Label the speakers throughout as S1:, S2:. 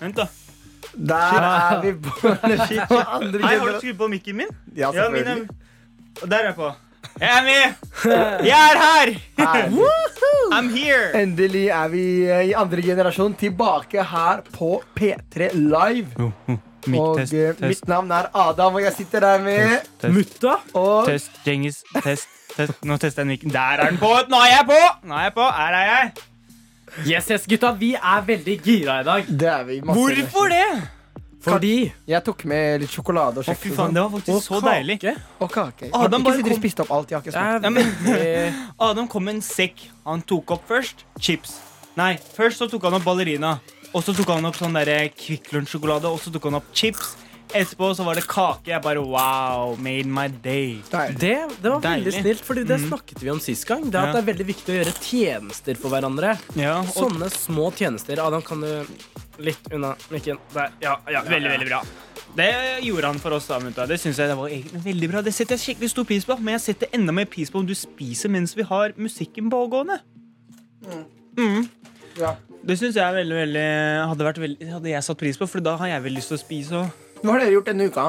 S1: Vent, da.
S2: Der er vi på på andre
S1: Hei, har du
S2: generasjon.
S1: skrudd på mikken min?
S2: Ja,
S1: Ja, min er...
S2: selvfølgelig.
S1: Og Der er jeg på. Jeg er med! Jeg er her!
S2: Herlig.
S1: I'm here!
S2: Endelig er vi eh, i andre generasjon tilbake her på P3 Live. Og
S3: Oh, test,
S2: eh,
S3: test,
S2: mitt navn er Adam, og jeg sitter der med
S3: test,
S4: Mutta?
S2: Og
S3: test, Genghis, test, test.
S1: Nå tester jeg den mikken. Der er den på! Nå er jeg på! Nå er jeg på. Her er jeg.
S4: Yes, yes, gutta. Vi er veldig gira i dag.
S2: det er vi. masse energi.
S1: Hvorfor det?
S4: Fordi
S2: Jeg tok med litt sjokolade og
S1: Å,
S2: kjeks
S1: fy
S2: og
S1: faen,
S2: sånn.
S1: det var faktisk så deilig.
S4: kake.
S2: Og kake.
S1: Adam
S2: Adam
S1: bare
S2: ikke si
S1: kom-
S2: dere spiste opp alt. Jeg har ikke
S4: Det
S2: smakt.
S4: er
S1: Ja, men-
S4: veldig
S1: Adam kom med en sekk. Han tok opp først chips. Nei, først så tok han opp ballerina. Og så tok han opp sånn der Kvikk Lunsj-sjokolade, og så tok han opp chips. Etterpå så var det kake. Jeg bare wow, made my day.
S2: Deilig.
S4: Det, det var
S1: Deilig.
S4: veldig snilt, fordi det snakket vi om sist gang. Det er at
S1: Ja.
S4: det er veldig viktig å gjøre tjenester for hverandre.
S1: Ja, og
S4: Sånne små tjenester. Adam, kan du litt unna mikken? Der. Ja, ja,
S1: veldig, veldig bra. Det gjorde han for oss. da, Mutta. Det synes jeg det var egentlig veldig bra. Det setter jeg skikkelig stor pris på. Men jeg setter enda mer pris på om du spiser mens vi har musikken pågående.
S2: Ja.
S1: Det syns jeg er veldig, veldig, hadde, vært veldig, hadde jeg satt pris på, for da har jeg vel lyst til å spise òg.
S2: Hva har dere gjort denne uka?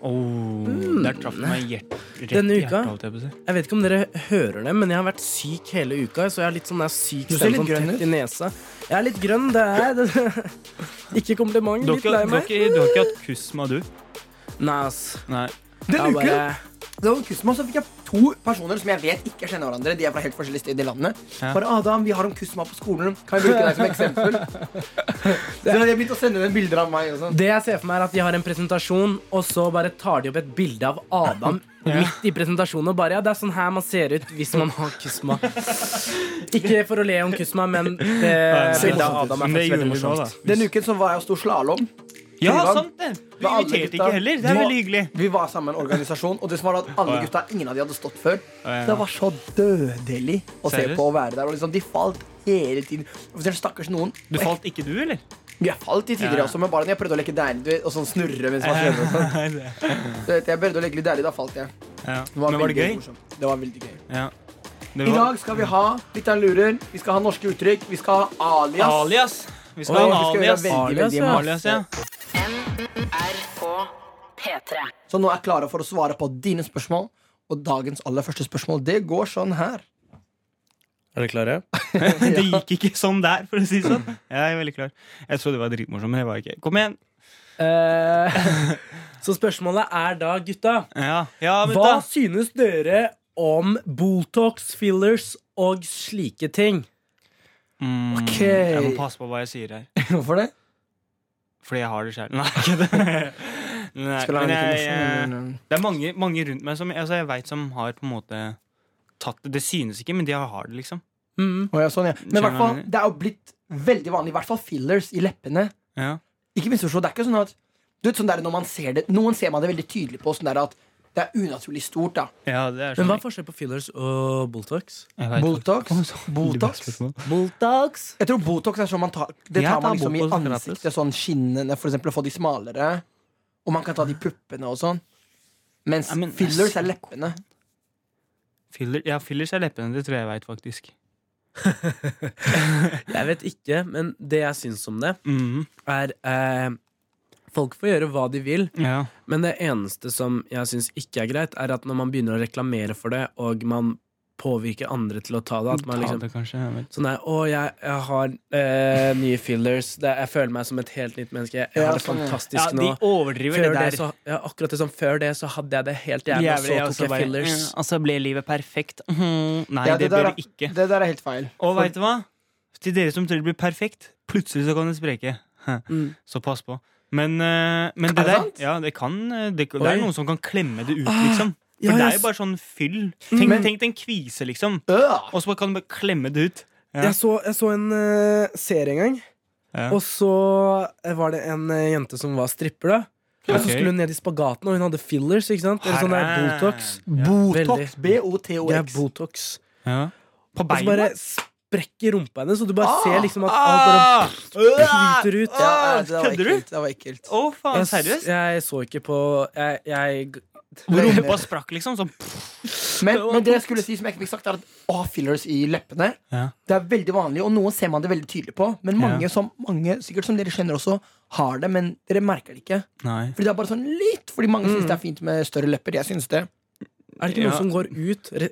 S1: Oh, Der traff det meg i hjert, rett
S4: Denne
S1: i
S4: uka?
S1: hjertet, holdt jeg på å si.
S4: Jeg vet ikke om dere hører det, men jeg har vært syk hele uka. Så jeg har litt sånn der syk
S2: Du ser
S4: stemme,
S2: litt
S4: sånn
S2: grønn
S4: tett i nesa. Jeg er litt grønn, det er det. Ikke kompliment.
S1: Du har
S4: Litt
S1: ikke,
S4: lei
S1: du har
S4: meg.
S1: ikke, du har ikke hatt kusma, du?
S4: Nei, ass.
S1: Nei.
S2: Denne
S4: Jeg
S2: uken
S4: bare-
S2: det var Kusma, så fikk jeg to personer som jeg vet ikke kjenner hverandre. De er fra helt forskjellige steder i landet.
S1: Ja.
S2: Bare Adam, vi har om Kusma på skolen. Kan vi bruke deg som eksempel? Så jeg begynte å sende dem bilder av meg og sånn.
S4: Det jeg ser for meg er at De har en presentasjon, og så bare tar de opp et bilde av Adam midt i presentasjonen. Og bare, ja, Det er sånn her man ser ut hvis man har kusma. Ikke for å le om kusma, men det bildet av Eh, Adam er
S1: Men det
S4: faktisk veldig
S1: gjorde vi nå, da.
S4: morsomt.
S2: Denne uken så var jeg og sto slalåm.
S1: Ja,
S2: Ivan,
S1: sant det! Vi
S2: da alle
S1: inviterte
S2: gutta-
S1: ikke heller. Det
S2: Du
S1: er
S2: var-
S1: veldig hyggelig.
S2: Vi var sammen en organisasjon, og det som var at
S1: Å,
S2: alle
S1: ja.
S2: gutta, ingen av de hadde stått før.
S1: ja.
S2: Det var så dødelig å se
S1: Seriøst?
S2: på å være der. Og liksom, de falt hele tiden. Og så Stakkars noen.
S1: Du falt ikke, du, eller?
S2: Jeg falt i
S1: Ja.
S2: tidligere også, men bare når jeg prøvde å leke deilig du vet, og sånn snurre mens man kjører. og sånn. Du vet, Jeg prøvde å leke litt deilig, da falt jeg.
S1: Ja. Men var det
S2: veldig
S1: gøy?
S2: morsomt. Det var veldig gøy.
S1: Ja. Det
S2: I
S1: var-
S2: dag skal vi ha litt av en lurer. Vi skal ha norske uttrykk. Vi skal ha alias.
S1: Alias. Vi skal ha
S2: Oi, vi skal
S1: en
S2: gjøre
S1: alias.
S2: veldig, veldig
S1: Alias, ja.
S2: masse.
S1: alias, ja.
S5: NRK P3.
S2: Så nå er jeg klare for å svare på dine spørsmål. Og dagens aller første spørsmål, det går sånn her.
S4: Er dere klare?
S1: Det gikk ikke som der, for å si det sånn. Jeg er veldig klar. Jeg trodde det var dritmorsomt, men det var ikke. Kom igjen.
S4: Eh, så spørsmålet er da, gutta
S1: Ja, ja men
S4: Hva
S1: da.
S4: synes dere om Botox, fillers og slike ting?
S1: Mm,
S2: Ok.
S1: Jeg må passe på hva jeg sier her.
S2: Hvorfor det?
S1: Fordi jeg har det sjøl. Nei, ikke det. Nei,
S2: Skal
S1: men
S2: jeg,
S1: jeg, eh, jeg, det er mange, mange rundt meg som altså jeg vet som har på en måte tatt det. Det synes ikke, men de har det, liksom.
S4: Mm.
S2: Å, ja, sånn, ja. Men i hvert fall,
S1: Skjønner du?
S2: det er jo blitt veldig vanlig, i hvert fall fillers i leppene.
S1: Ja.
S2: Ikke misforstå, det er ikke sånn at Du vet sånn der når man ser det Noen ser man det veldig tydelig på, sånn der at det er unaturlig stort, da.
S1: Ja, det er
S4: Men
S1: sånn.
S4: hva er forskjellen på fillers og Botox?
S1: Jeg vet faktisk
S2: Botox. Botox.
S4: Botox
S2: Jeg tror Botox er sånn man tar Det
S1: Jeg
S2: tar
S1: tar
S2: man liksom i
S1: Botox gratis.
S2: ansiktet, sånn skinnene, for eksempel, å få de smalere. Og man kan ta de puppene og sånn. Mens
S1: Ja, men-
S2: fillers er leppene.
S1: Filler, ja, fillers er leppene. Det tror jeg jeg vet faktisk.
S4: Jeg vet ikke, men det jeg syns om det,
S1: Mhm.
S4: er eh, Folk får gjøre hva de vil,
S1: Ja.
S4: men det eneste som jeg syns ikke er greit, er at når man begynner å reklamere for det, og man påvirker andre til å ta det At man
S1: Ta
S4: liksom
S1: det, kanskje. Jeg vet.
S4: Sånn der, å, jeg, jeg har eh, nye fillers. Det, jeg føler meg som et helt nytt menneske. Jeg
S2: Ja,
S4: har det
S2: sånn, ja.
S4: fantastisk
S1: Ja,
S4: nå.
S1: de overdriver
S4: Før
S1: det
S4: det,
S1: der.
S4: så, ja, akkurat det som før det, så hadde jeg det helt jævlig,
S1: altså,
S4: og så tok jeg fillers.
S1: Og så ble altså, livet perfekt. Mhm. Nei,
S2: Ja,
S1: det,
S2: der
S1: ble
S2: er-
S1: det ikke.
S2: Det der er helt feil.
S1: Og veit du hva? Til dere som tror det blir perfekt, plutselig så kan det spreke. Hæ.
S4: Mm.
S1: Så pass på. Men, eh, men det
S2: det
S1: der
S2: sant?
S1: ja, det, kan, eh, det, det
S4: Oi. Ah,
S1: er noen som kan klemme det ut, liksom. For
S4: ja,
S1: det er
S4: jeg
S1: jo
S4: s- Mm.
S1: bare sånn fyll. Tenk,
S2: Men-
S1: tenk deg en kvise, liksom.
S2: Øh!
S1: Og så kan du bare klemme det ut. Ja.
S4: Jeg så, jeg så en eh, serie en gang,
S1: Ja.
S4: og så eh, var det en eh, jente som var stripper. da Og så
S1: Ok.
S4: skulle hun ned i spagaten, og hun hadde fillers. ikke sant? Eller sånn der
S1: Her er-
S4: Botox.
S2: Botox.
S4: Veldig. Det er
S2: B-O-T-O-X.
S4: Botox.
S1: Ja. På
S4: Og
S1: beina.
S4: så bare sprekker rumpa hennes, og du bare
S2: Ah!
S4: ser liksom at alt bare
S1: Ah!
S4: flyter ut.
S2: Ja, ja, det var
S1: Kødder du?
S2: ekkelt. Det var ekkelt.
S1: Å, faen.
S4: Jeg, s-
S1: Seriøst?
S4: jeg så ikke på Jeg, jeg
S1: Rumpa sprakk, liksom. Sånn.
S2: Men, men det jeg skulle si som jeg ikke fikk sagt, er at A-fillers i leppene
S1: Ja.
S2: Det er veldig vanlig, og noen ser man det veldig tydelig på. Men mange,
S1: Ja.
S2: som, mange sikkert som dere kjenner også, har det, men dere merker det ikke.
S1: Nei.
S2: Fordi det er bare sånn litt Fordi mange
S1: Mm.
S2: syns det er fint med større lepper. Jeg syns det.
S4: Er det ikke noe
S1: Ja.
S4: som går ut? Re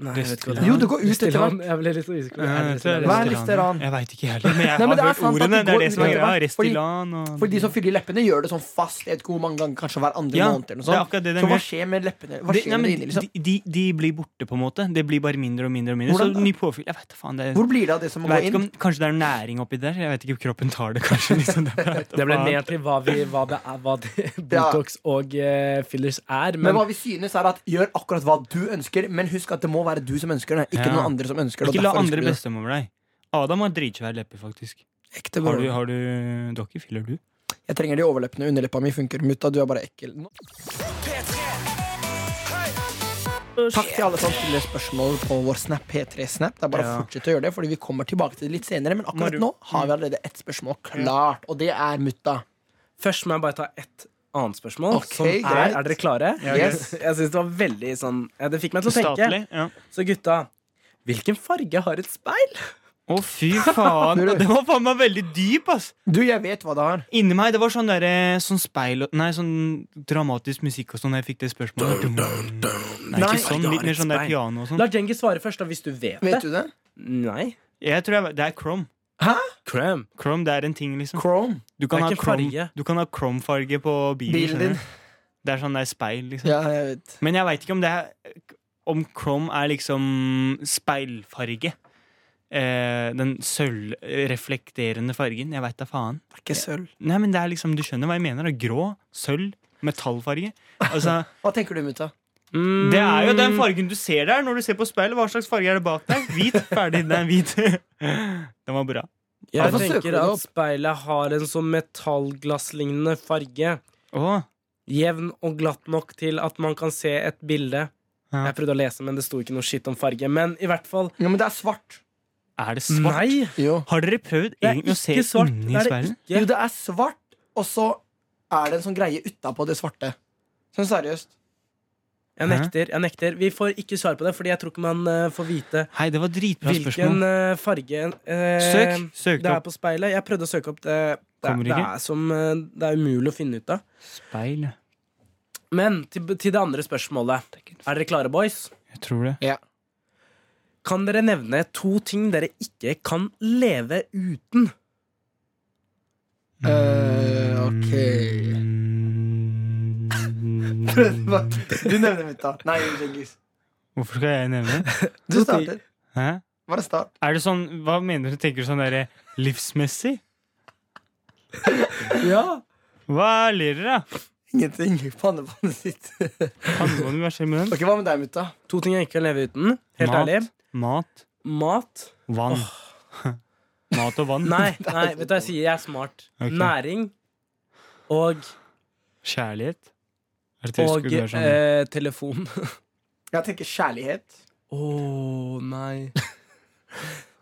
S4: Nei, jeg vet ikke hva det
S1: Jo,
S2: det går ut
S4: Stille
S2: etter
S4: ham. Jeg ble litt så usikker. Er det Stille
S2: Hva
S4: ham?
S2: er Listeran?
S1: Eh, Jeg veit ikke heller. Men jeg
S2: Nei, men det
S1: har
S2: er
S1: hørt
S2: sant at
S1: ordene.
S2: det
S1: Det
S2: går
S1: er det som er
S2: utover.
S1: greia.
S2: Fordi-
S1: Restilan og
S2: For de som fyller leppene, gjør det sånn fast jeg vet ikke hvor mange ganger, kanskje hver andre
S1: Ja,
S2: måned. Eller
S1: det er
S2: noe sånt.
S1: akkurat det de
S2: Så hva
S1: gjør.
S2: skjer med leppene? Hva
S1: Det-
S2: skjer
S1: nei,
S2: med
S1: men
S2: det inni, liksom?
S1: de, de, de blir borte, på en måte. Det blir bare mindre og mindre. og mindre
S2: Hvordan
S1: Så
S2: da?
S1: ny påfyll Jeg vet, da faen, det er,
S2: Hvor blir det av det som
S1: jeg
S2: går
S1: vet ikke
S2: inn?
S1: om, Kanskje det er næring oppi der? Jeg vet ikke, Kroppen tar det kanskje. Liksom. Jeg vet da
S4: Det ble
S1: faen.
S4: mer til hva, vi, hva det er Hva det, Botox og eh, fillers er. Men,
S2: Men hva vi synes er at Gjør akkurat hva du ønsker, men husk at det må være du som ønsker det. Ikke
S1: Ja.
S2: noen andre som ønsker det. og
S1: Ikke la
S2: derfor ønsker
S1: andre
S2: du det.
S1: bestemme over deg. Adam har dritsvær leppe, faktisk.
S2: Ekte
S1: Har du,
S2: bror.
S1: har du Dokker, fyller du?
S2: Jeg trenger de overleppene. Underleppa mi funker. Mutta, du er bare ekkel. Nå- Takk til alle som stiller spørsmål på vår Snap P3 Snap. Det er bare å
S1: Ja.
S2: fortsette å gjøre det, fordi vi kommer tilbake til det litt senere. Men
S1: Når
S2: akkurat
S1: du-
S2: nå har vi allerede ett spørsmål klart, og det er mutta.
S4: først må jeg bare ta ett annet spørsmål.
S2: Ok,
S4: som er,
S2: greit.
S4: er dere klare?
S1: Ja,
S2: Yes.
S4: Jeg synes det var veldig sånn ja, Det fikk meg til å tenke.
S1: Statlig? Ja.
S4: Så gutta, hvilken farge har et speil?
S1: Å, fy faen! Det var faen meg veldig dyp, ass!
S2: Du, jeg vet hva det har.
S1: Inni meg, det var sånn der, eh, sånn speil og- Nei, sånn dramatisk musikk og sånn da jeg fikk det spørsmålet. Nei,
S2: Nei,
S1: ikke sånn. Litt mer sånn der piano og sånn.
S4: La Djengi svare først, da, hvis du vet,
S2: Vet du det?
S4: Nei.
S1: Jeg tror jeg, Det er Chrome.
S4: Cram.
S1: Chrome, det er en ting, liksom.
S2: Chrome.
S1: Du kan
S4: Det er
S1: ha
S4: ikke farge.
S1: Chrome- du kan ha Chrome-farge på bilen. skjønner
S2: Bilen din.
S1: du? Det er sånn der speil, liksom.
S2: Ja, jeg vet.
S1: Men jeg veit ikke om det er Om Chrome er liksom speilfarge. Eh, den sølvreflekterende fargen. Jeg veit da faen.
S2: Det er ikke sølv.
S1: Nei, men det er liksom, Du skjønner hva jeg mener? da. Grå, sølv, metallfarge. Altså,
S2: Hva tenker du, mutta?
S4: Mm,
S1: Det er jo den fargen du ser der når du ser på speilet. Hva slags farge er det bak deg? Hvit. Ferdig. Den er hvit. Den var bra.
S4: Mm. Jeg
S2: Hvorfor søker du
S4: tenker
S2: det
S4: at
S2: opp?
S4: speilet har en sånn metallglasslignende farge.
S1: Åh,
S4: Jevn og glatt nok til at man kan se et bilde.
S1: Ja.
S4: Jeg prøvde å lese, men det sto ikke noe skitt om farge. Men i hvert fall
S2: Ja, men det er svart.
S1: er det svart?
S4: Nei!
S2: Jo.
S1: Har dere prøvd
S4: Det er
S1: egentlig å se
S4: ikke svart.
S1: inni
S4: Det er det
S1: speilet?
S2: Jo,
S4: ikke.
S2: det er svart, og så er det en sånn greie utapå det svarte. Sånn seriøst.
S4: Jeg nekter. jeg nekter Vi får ikke svar på det, fordi jeg tror ikke man eh, får vite
S1: Hei, det var dritbra
S4: hvilken
S1: spørsmål.
S4: eh, farge eh,
S1: Søk. Søk
S4: det
S1: det
S4: er
S1: opp.
S4: på speilet. Jeg prøvde å søke opp det. Det,
S1: Kommer
S4: det,
S1: ikke.
S4: er som, eh, det er umulig å finne ut av.
S1: Speil.
S4: Men til, til det andre spørsmålet. Er dere klare, boys?
S1: Jeg tror det.
S4: Kan dere nevne to ting dere ikke kan leve uten?
S2: Eh, ok Prøv bare. Du nevner mutta. Nei, Djengis.
S1: Hvorfor skal jeg nevne det?
S2: Du starter.
S1: Hæ?
S2: Bare start.
S1: Er det sånn, Hva mener du? Tenker du sånn derre livsmessig?
S4: Ja
S1: Hva ler dere av?
S2: Ingenting. Pannepannet sitt.
S1: Handler det om med den?
S2: Ok, Hva med deg, mutta?
S4: To ting jeg ikke kan leve uten. Helt
S1: Mat.
S4: ærlig.
S1: Mat,
S4: Mat.
S1: vann. Mat og vann.
S4: Nei, nei, vet du hva jeg sier? Jeg er smart.
S1: Ok.
S4: Næring og,
S1: Kjærlighet. Er det det
S4: og
S1: skulle være sånn?
S4: eh, telefon.
S2: Jeg tenker kjærlighet.
S4: Å nei.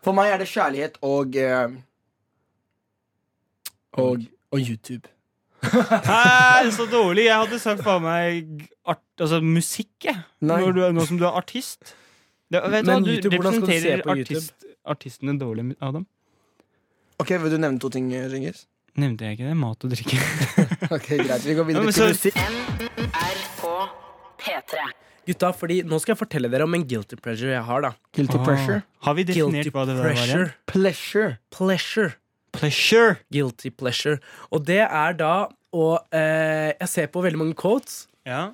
S2: For meg er det kjærlighet og eh, og, og YouTube.
S1: Hæ, så dårlig. Jeg hadde sagt faen meg art, altså, musikk, jeg.
S2: Nei.
S1: Når du er, nå som du er artist. Det, vet du
S4: Men
S1: hva, du
S4: YouTube, hvordan skal du se
S1: representerer
S4: på YouTube?
S1: artist, artistene dårlig, Adam.
S2: Ok, Vil du nevne to ting, Ringis?
S1: Nevnte jeg ikke det? Mat og drikke.
S2: Ok, Greit. Vi går
S1: Ja,
S2: videre
S1: men
S2: til
S1: så-
S2: musikk.
S5: NRK P3.
S4: Gutta, fordi nå skal jeg fortelle dere om en guilty pleasure jeg har. da
S1: Ah.
S2: Guilty pressure.
S1: Åh, Har vi definert
S4: Guilty
S1: hva det der var? igjen?
S4: pleasure.
S2: Pleasure.
S4: Pleasure.
S1: Pleasure.
S4: Guilty pleasure. Og det er da å eh, Jeg ser på veldig mange quotes.
S1: Ja.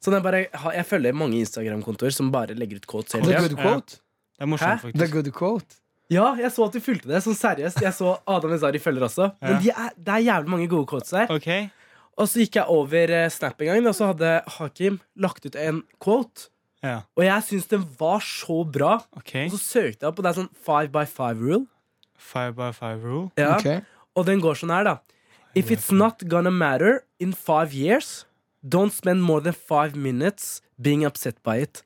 S4: Sånn jeg, bare, har- jeg følger mange Instagram-kontoer som bare legger ut quotes hele
S2: The
S4: tiden.
S2: good quote.
S1: Det er morsomt,
S4: Hæ?
S2: The
S1: faktisk.
S2: good quote.
S4: Ja, jeg så at du fulgte det. Sånn seriøst. Jeg så Adam Ezari følger også. Men de er, det er jævlig mange gode quotes der.
S1: Ok.
S4: Og så gikk jeg over eh, Snap en gang, og så hadde Hakim lagt ut en quote.
S1: Ja.
S4: Og jeg syns den var så bra.
S1: ok
S4: Og så søkte jeg opp, og det er sånn five by five rule.
S1: Five by five rule.
S4: Ja.
S2: Ok.
S4: Og den går sånn her, da. If it's not gonna matter in five years, don't spend more than five minutes being upset by it.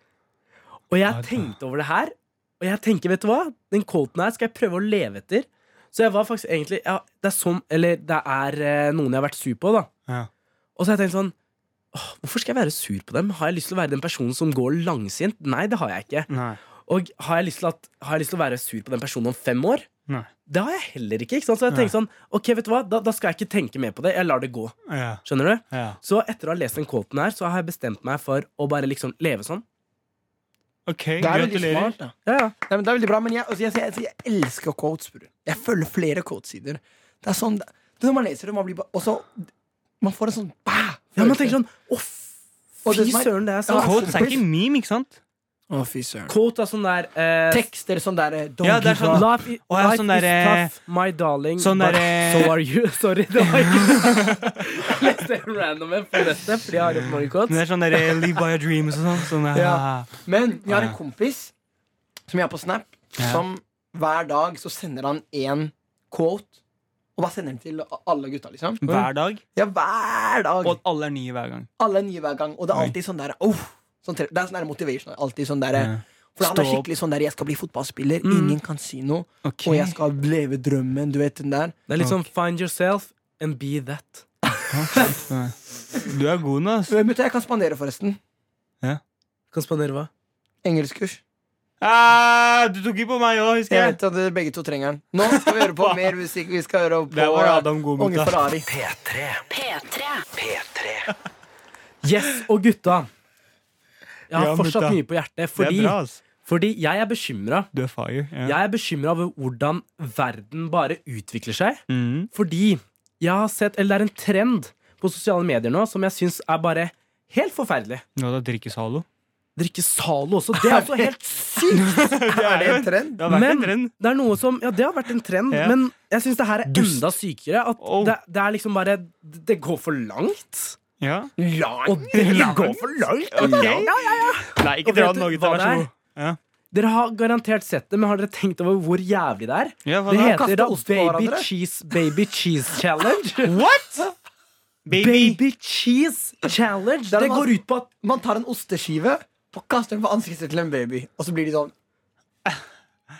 S4: Og jeg tenkte over det her, og jeg tenker, vet du hva? Den quoten her skal jeg prøve å leve etter. Så jeg var faktisk egentlig sånn, ja, Det er som, eller det er eh, noen jeg har vært sur på, da.
S1: Ja.
S4: Og så har jeg tenkt sånn «Åh, Hvorfor skal jeg være sur på dem? Har jeg lyst til å være den personen som går langsint? Nei, det har jeg ikke.
S1: Nei.
S4: Og har jeg lyst til, at, har jeg lyst til å være sur på den personen om fem år?
S1: Nei.
S4: Det har jeg heller ikke. ikke sant? Så jeg tenker sånn, ok, vet du hva? Da, da skal jeg ikke tenke mer på det. Jeg lar det gå.
S1: Ja.
S4: Skjønner du?
S1: ja.
S4: Så etter å ha lest den quoten her, så har jeg bestemt meg for å bare liksom leve sånn.
S1: OK,
S2: Det er veldig
S1: gratulerer.
S2: smart, da.
S4: Ja, ja.
S2: Nei, men det er veldig bra, men jeg, altså, jeg, jeg, jeg, elsker quotes, bror. Jeg følger flere quotesider. Det er sånn, det er når man leser det, man blir bare Og så Man får en sånn bæ!
S4: ja man tenker sånn, å
S2: Og
S4: fy
S2: det som er-
S4: søren, det er
S2: Ja,
S4: sånn.
S1: Quotes er ikke en meme, ikke sant?
S2: Å, fy søren.
S4: Quote er sånn der eh,
S2: Tekster sånn der eh, don't
S1: Ja, det er
S2: give
S1: sånn-
S2: up.
S4: Life, i-
S1: Og jeg er
S4: life
S1: sånn
S4: is
S1: derre-
S4: tough, my darling.
S1: Sånn
S4: but
S1: derre-
S4: So are you. Sorry, det var ikke Jeg leste en random en for dette, fordi jeg har gjort mange
S1: Men det
S4: quotes.
S1: er sånn der, eh, Live by a dream og sånn. sånn eh,
S2: Ja. Men jeg har
S1: Ja.
S2: en kompis som jeg har på Snap, som hver dag så sender han én quote. Og bare sender den til alle gutta, liksom.
S1: Hver dag.
S2: Ja, hver dag.
S1: Og at alle er nye hver gang.
S2: alle er nye hver gang, og det er alltid sånn der oh, sånn, tre- Det er sånn der motivation. Alltid sånn der,
S1: Ja.
S2: For han er
S1: Stå opp.
S2: skikkelig sånn der 'jeg skal bli fotballspiller',
S4: Mm.
S2: ingen kan si noe.
S1: Ok.
S2: Og jeg skal leve drømmen, du vet den der.
S4: Det er litt sånn find yourself and be that.
S1: Du er god nå, ass.
S2: Øh, Mutta, jeg kan spandere, forresten.
S4: Kan spandere hva?
S2: Engelskkurs.
S1: Ah, du tok ikke på meg òg, husker
S2: Jeg
S1: jeg.
S2: vet at dere begge to trenger den. Nå skal vi høre på mer musikk. Vi skal høre på eh,
S1: Der var Adam god,
S2: Unge
S1: mutta.
S2: Ferrari.
S5: P3.
S4: Yes, og gutta. Jeg har
S1: Ja,
S4: fortsatt
S1: gutta.
S4: mye på hjertet,
S1: Det er
S4: fordi,
S1: bra, ass.
S4: fordi jeg er bekymra.
S1: Du er fire. Ja.
S4: Jeg er bekymra over hvordan verden bare utvikler seg.
S1: Mm.
S4: Fordi jeg har sett, eller det er en trend på sosiale medier nå som jeg syns er bare helt forferdelig.
S1: Nå da drikkes Halo.
S4: Drikke Zalo også. Det er også helt sykt!
S2: Er det en trend?
S1: Det har vært en
S4: Men-
S1: trend.
S4: Det er noe som, ja, det har vært en trend,
S1: Ja.
S4: men jeg syns det her er enda sykere. At
S1: Oh.
S4: det, det er liksom bare Det går for langt.
S1: Ja.
S4: Og det går for langt!
S1: Ok. Nei, ikke
S4: Og
S1: dra
S4: vet
S1: den
S4: du
S1: noe til,
S4: hva
S1: vær så
S4: det
S1: god. Ja.
S4: Dere har garantert sett det, men har dere tenkt over hvor jævlig det er?
S1: Ja, hva
S4: Det
S1: da?
S4: heter
S2: Kaste
S4: da
S2: ost på
S4: Baby
S2: hverandre?
S4: Cheese Baby Cheese Challenge.
S1: What?! Baby.
S4: Baby Cheese Challenge!
S2: er
S4: Det
S2: man-
S4: går ut på at
S2: Man tar en osteskive og kaster den på ansiktet til en baby, og så blir de sånn.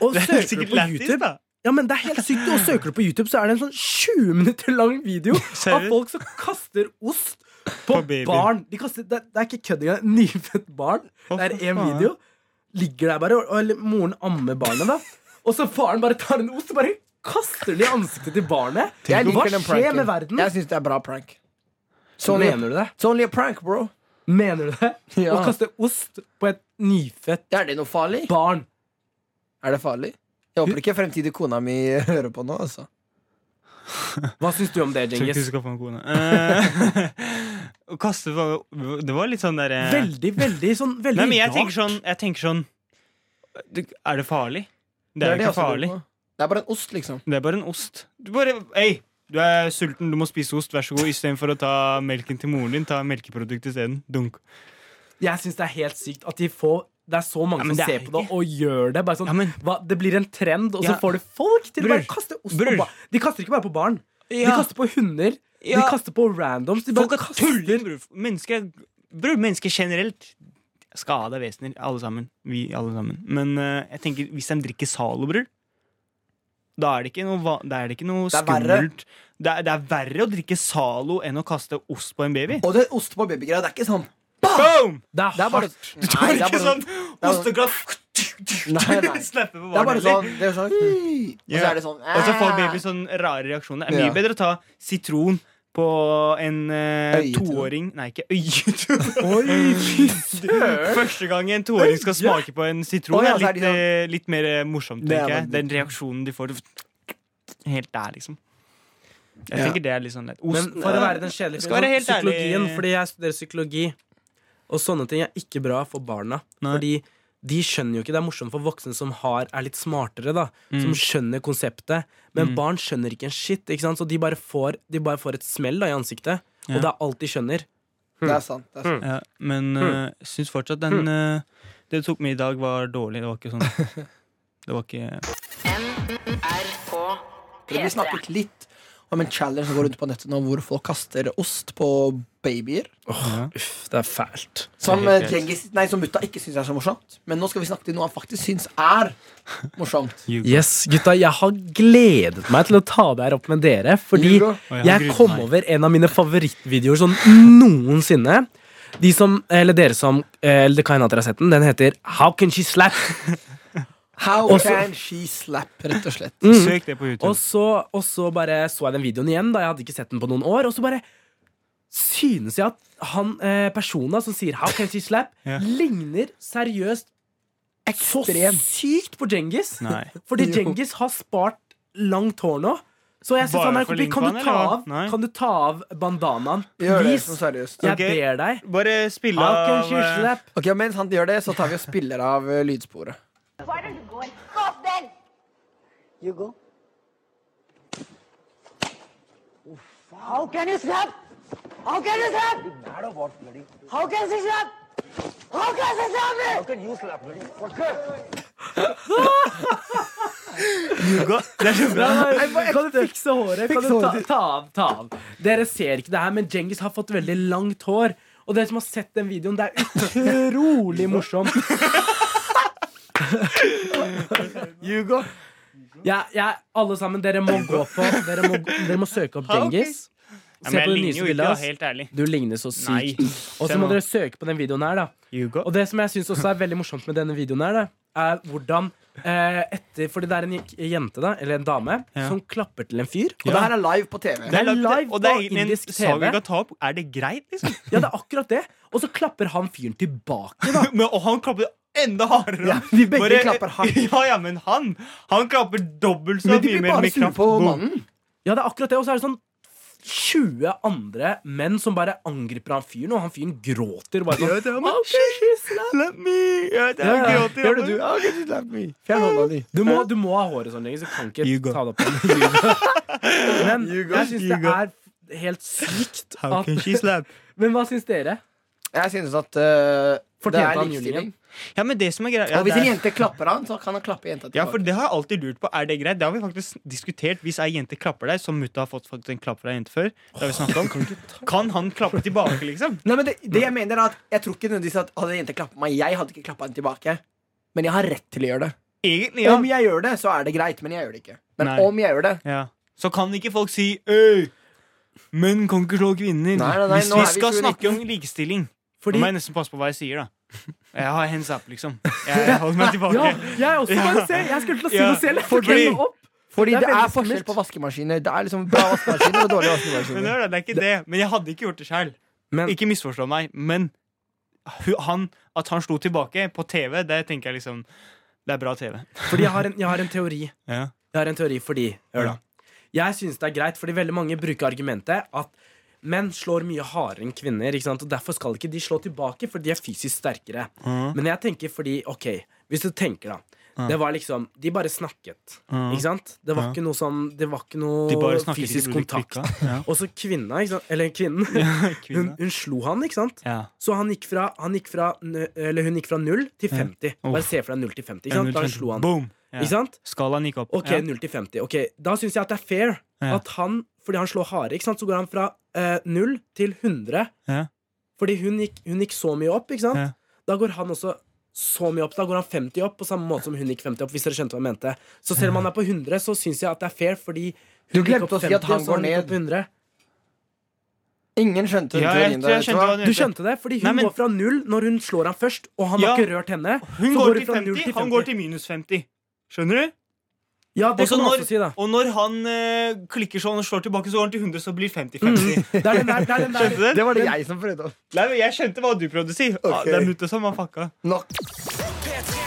S4: Og
S1: Det er
S4: søker du
S1: sikkert
S4: på
S1: lættis,
S4: YouTube
S1: da.
S4: Ja, men det er helt sykt, og søker du på YouTube, så er det en sånn 20 minutter lang video av
S1: Seriøst?
S4: folk som kaster ost på,
S1: På babyen.
S4: barn. De kaster, det, det er ikke kødd engang. Nyfødt barn.
S1: Å,
S4: Det er
S1: for
S4: én
S1: faen.
S4: video. Ligger der bare, og, og eller moren ammer barnet, da. Og så faren bare tar en ost og bare kaster den i ansiktet til barnet.
S2: Jeg
S4: Hva
S2: liker den
S4: skjer
S2: pranken.
S4: med verden?
S2: Jeg syns det er bra prank.
S4: Så
S2: Sånn
S4: mener du det?
S2: It's only a prank, bro.
S4: Mener du det?
S2: Ja.
S4: Å kaste ost på et nyfødt
S2: Er det noe farlig?
S4: barn.
S2: Er det farlig? Jeg håper ikke fremtidig kona mi hører på nå, altså.
S4: Hva syns du om det,
S1: Tror ikke du
S4: Djengis?
S1: skal få en kone. Eh, Å kaste på- Det var litt sånn derre
S4: Veldig, veldig sånn veldig
S1: Nei, men jeg
S4: rart.
S1: tenker sånn, jeg tenker sånn du, Er det farlig? Det
S2: Det
S1: er
S2: er
S1: jo ikke
S2: det jeg også lurer
S1: farlig.
S2: på. Det er bare en ost, liksom.
S1: Det er bare en ost. Du bare Hei, du er sulten, du må spise ost, vær så god. Istedenfor å ta melken til moren din, ta melkeprodukt isteden. Dunk.
S4: Jeg syns det er helt sykt at de får det er så mange
S1: Ja, men
S4: som
S1: det er
S4: ser på det og gjør det. Bare sånn,
S1: Ja, men-
S4: hva, det blir en trend, og så
S1: Ja.
S4: får du folk til å
S1: Bror.
S4: bare kaste ost
S1: Bror.
S4: på barn. De kaster ikke bare på barn. De
S1: Ja.
S4: kaster på hunder. De
S1: Ja.
S4: kaster på randoms. De bare
S1: Folk er
S4: kaster
S1: tulling, bror. Mennesker, bror, mennesker generelt. Skada vesener, alle sammen. Vi alle sammen. Men eh, jeg tenker, hvis de drikker Zalo, bror da er det ikke noe, va- da er det ikke noe
S2: Det er verre.
S1: skummelt. Det er, det er verre å drikke Zalo enn å kaste ost på en baby.
S2: Og det ost på babygreia, det er ikke sånn
S1: Boom!
S4: Det er
S2: Det er bare,
S4: hardt.
S1: Det er
S2: nei, det er
S1: ikke
S2: bare
S1: sånn
S2: bare-
S1: ostegraff
S2: Nei, nei.
S1: Snapper på
S2: Det
S1: barna,
S2: er bare
S1: eller?
S2: sånn, det er sånn «Ui», Og så
S1: Ja.
S2: er det sånn
S1: Og så får
S2: «Æ».
S1: baby sånn rare reaksjoner. Det er mye
S2: Ja.
S1: bedre å ta sitron på en eh,
S2: Øye til
S1: toåring Nei, ikke øyetro.
S4: Oi, fy søren.
S1: Første gang en toåring skal smake på en sitron,
S2: Å, ja,
S1: er
S2: så er
S1: litt,
S2: de
S1: eh, litt mer eh, morsomt,
S2: Det er
S1: tenker jeg.
S2: veldig-
S1: Den reaksjonen de får. Helt der, liksom. Jeg
S2: Ja.
S1: tenker det er litt sånn lett.
S4: Men
S1: Osten
S4: for å
S1: er-
S4: være den kjedelige
S1: Skal være
S4: fyren,
S1: helt
S4: sånn, psykologien,
S1: ærlig.
S4: fordi jeg studerer psykologi, og sånne ting er ikke bra for barna.
S1: Nei.
S4: Fordi de skjønner jo ikke Det er morsomt for voksne som har, er litt smartere, da.
S1: Mm.
S4: Som skjønner konseptet. Men barn skjønner ikke en shit, ikke sant? så de bare får, de bare får et smell da, i ansiktet.
S1: Ja.
S4: Og det er alt de skjønner.
S2: Det er sant. Det er sant.
S1: Ja, men uh, syns fortsatt den eh, Det du tok med i dag, var dårlig. Det var ikke sånn Det var ikke
S5: NRK
S2: Vi
S5: P3.
S2: snakket litt om en challenge som går rundt på nettet nå, hvor folk kaster ost på babyer.
S4: Uff, det er fælt.
S2: Som,
S1: Det er helt
S2: eh,
S1: greit.
S2: Djengis, nei, som mutta ikke syns er så morsomt. Men nå skal vi snakke til noe han faktisk syns er morsomt.
S4: Yes, gutta, jeg har gledet meg til å ta det her opp med dere. Fordi
S2: Lurer.
S1: Oi, han
S4: jeg
S1: gruer
S4: kom
S1: meg.
S4: over en av mine favorittvideoer sånn noensinne. De som, eller dere som eh, Eller det kan hende at dere har sett den. Den heter How Can She Slap?
S2: How
S4: Også-
S2: can she slap, rett og slett.
S1: Hmm.
S3: Søk det på YouTube.
S4: Og så, og så bare så jeg den videoen igjen, da jeg hadde ikke sett den på noen år. Og så bare synes jeg at han eh, personen som sier 'How can she slap?'
S3: Ja.
S4: ligner seriøst så
S2: Ekstrem.
S4: sykt på Djengis.
S3: Nei.
S4: Fordi
S2: Jo.
S4: Djengis har spart langt hår nå. Så jeg synes
S3: Bare
S4: han er
S3: for
S4: kompis. Kan,
S3: limpan,
S4: du ta
S3: eller hva?
S4: av-
S3: Nei.
S4: kan du ta av bandanaen?
S2: Gjør det
S4: Please.
S2: sånn seriøst.
S3: Ok.
S4: Jeg ber deg.
S3: Bare spille
S4: How can
S3: av
S4: she
S3: eh,
S4: slap?
S2: Ok, og Mens han gjør det, så tar vi og spiller av eh, lydsporet.
S6: Why don't you go and stop then? You go. How can you slap? How can you slap? You mad or what, bloody? How can she slap? How can she slap me? How can you slap, bloody? What
S4: Kan du fikse håret? Kan du ta, ta av, ta av. Dere ser ikke det her, men Djengis har fått veldig langt hår. Og dere som har sett den videoen, det er utrolig morsomt.
S2: Hugo.
S4: Jeg, jeg, alle sammen, dere må gå på Dere må, dere må søke opp Djengis.
S1: Ja,
S4: Se
S1: men
S4: på
S1: jeg
S4: det
S1: ligner
S4: nyeste
S1: jo ikke,
S4: bildet
S1: da,
S4: hans.
S1: helt ærlig.
S4: Du ligner så
S1: Nei.
S4: sykt. Og så må dere søke på den videoen her, da.
S1: Hugo.
S4: Og det som jeg synes også er veldig morsomt med denne videoen her, da, er hvordan eh, etter, Fordi det er en j- jente, da, eller en dame,
S3: Ja.
S4: som klapper til en fyr.
S2: Og det her er live på TV.
S4: Det er
S1: lagt-
S4: live
S1: og det er
S4: på
S1: egentlig en
S4: indisk
S1: sak vi
S4: TV.
S1: kan ta opp. Er det greit, liksom?
S4: Ja, det er akkurat det. Og så klapper han fyren tilbake.
S1: Men, og han klapper enda hardere.
S2: Ja, de begge klapper hardt.
S1: Ja, ja, men han Han klapper dobbelt så
S2: Men de
S1: mye
S2: blir
S1: mer
S2: bare
S1: med
S2: sure
S1: kraft.
S2: på
S1: Boom.
S2: mannen.
S4: Ja, det er akkurat det. Og så er det sånn 20 andre menn som bare angriper han fyren, og han fyren gråter. Bare sånn, «How can she slap?»
S1: Let me Ja, det er
S4: Ja, ja.
S1: gråter,
S2: Gjør det du?
S1: jeg bare-
S2: How can she slap me? Fjern hånda di.
S4: du, må, du må ha håret sånn lenger, så kan ikke
S1: Hugo.
S4: ta det opp igjen. Men
S2: Hugo.
S4: jeg syns det
S1: Hugo.
S4: er helt sykt
S1: How
S4: at
S1: can she slap?
S4: Men hva syns dere?
S2: Jeg synes at eh, det
S4: Fortjente
S2: er
S4: han
S2: likestilling.
S4: julingen?
S1: Ja, men det som er greit
S2: Og
S1: ja,
S2: hvis
S1: det
S2: en
S1: er-
S2: jente klapper han, så kan han klappe jenta
S1: ja, for
S2: tilbake.
S1: det har jeg alltid lurt på. Er det greit? Det har vi faktisk diskutert. Hvis ei jente klapper deg, som mutta har fått faktisk en klapp fra ei jente før, det har vi snakket om Kan han klappe tilbake, liksom?
S2: Nei, men det, det Jeg mener er at Jeg tror ikke nødvendigvis at hadde en jente klappet meg, jeg hadde ikke klappa henne tilbake. Men jeg har rett til å gjøre det.
S1: Egentlig, ja.
S2: Om jeg gjør det, så er det greit, men jeg gjør det ikke. Men
S1: Nei.
S2: om jeg gjør det
S1: ja. Så kan ikke folk si Øy, menn kan ikke slå kvinner.
S2: Nei, nei, nei,
S1: hvis
S2: nå
S1: vi
S2: er vi
S1: skal
S2: 2019.
S1: snakke om likestilling,
S4: Fordi-
S1: nå må jeg nesten passe på hva jeg sier, da. Jeg har hands up, liksom. Jeg holder meg
S4: Ja,
S1: tilbake.
S4: jeg også bare se. Jeg skulle til å si
S1: Ja.
S4: noe selv.
S1: Fordi-
S4: Fortell noe opp.
S2: Fordi
S4: Det er
S2: det er,
S4: veldig
S2: forskjell
S4: skummelt.
S2: på vaskemaskiner. Det er liksom bra vaskemaskiner og dårlige
S1: Men det
S2: vaskemaskiner.
S1: er, det, det er ikke det. Men jeg hadde ikke gjort det sjøl.
S4: Men-
S1: Ikke misforstå meg, men hu- han, at han slo tilbake på TV, det tenker jeg liksom Det er bra TV.
S4: Fordi jeg har en, jeg har en teori.
S1: Ja.
S4: Jeg har en teori fordi Hør da. Jeg synes det er greit, fordi veldig mange bruker argumentet at menn slår mye hardere enn kvinner, ikke sant? og derfor skal ikke de slå tilbake, for de er fysisk sterkere.
S1: Mm.
S4: Men jeg tenker fordi OK, hvis du tenker, da. Det var liksom De bare snakket, ikke sant? Det var ikke noe sånn Det var ikke
S1: Mm. De bare
S4: noe
S1: snakket
S4: fysisk
S1: til de ble
S4: kontakt.
S1: klikka. Ja.
S4: Og så kvinna, ikke sant? Eller kvinnen. Hun,
S1: kvinna.
S4: hun slo han, ikke sant?
S1: Ja.
S4: Så han gikk fra, han gikk fra, nø- eller hun gikk fra 0 til 50.
S1: Uff.
S4: Bare se fra 0 til 50. Ikke sant? Da slo han.
S1: Boom! Ja.
S4: Ikke sant?
S1: Skalaen gikk opp.
S4: Ok,
S1: Ja.
S4: 0 til 50. Ok, Da syns jeg at det er fair
S1: Ja.
S4: at han, fordi han slår hardere, ikke sant, så går han fra eh, 0 til 100.
S1: Ja.
S4: Fordi hun gikk, hun gikk så mye opp, ikke sant?
S1: Ja.
S4: Da går han også så mye opp. Da går han 50 opp, på samme måte som hun gikk 50 opp. Hvis dere skjønte hva jeg mente. Så selv om han er på 100, så syns jeg at det er fair, fordi hun
S2: Du
S4: gikk
S2: glemte
S4: opp
S2: å si at
S4: 50,
S2: han
S4: og så
S2: går
S4: gikk opp
S2: ned.
S4: 100.
S2: Ingen
S1: Ja,
S2: skjønte
S1: jeg,
S2: teorien
S1: tror jeg skjønte
S2: der. vet du
S1: hva
S2: hva?
S1: han
S4: Du
S1: mente.
S4: skjønte det? Fordi hun
S1: Nei, men-
S4: går fra 0 når hun slår han først, og han
S1: Ja.
S4: har ikke rørt henne.
S1: Hun
S4: så
S1: går
S4: går hun
S1: til
S4: fra 0
S1: 50,
S4: til
S1: han
S4: 50.
S1: går til minus 50. Skjønner du?
S4: Ja, det
S1: Og så
S4: kan man
S1: når,
S4: også si, da.
S1: og når han eh, klikker sånn og slår tilbake, så går han til 100, så blir 50-50.
S4: Det er den der, Mm. det er den der.
S1: Skjønte du?
S2: Det var det jeg som prøvde å
S1: Nei, men jeg skjønte hva du prøvde å si. Ah,
S2: Ok.
S1: Det er mutta som har fucka.
S2: Nok.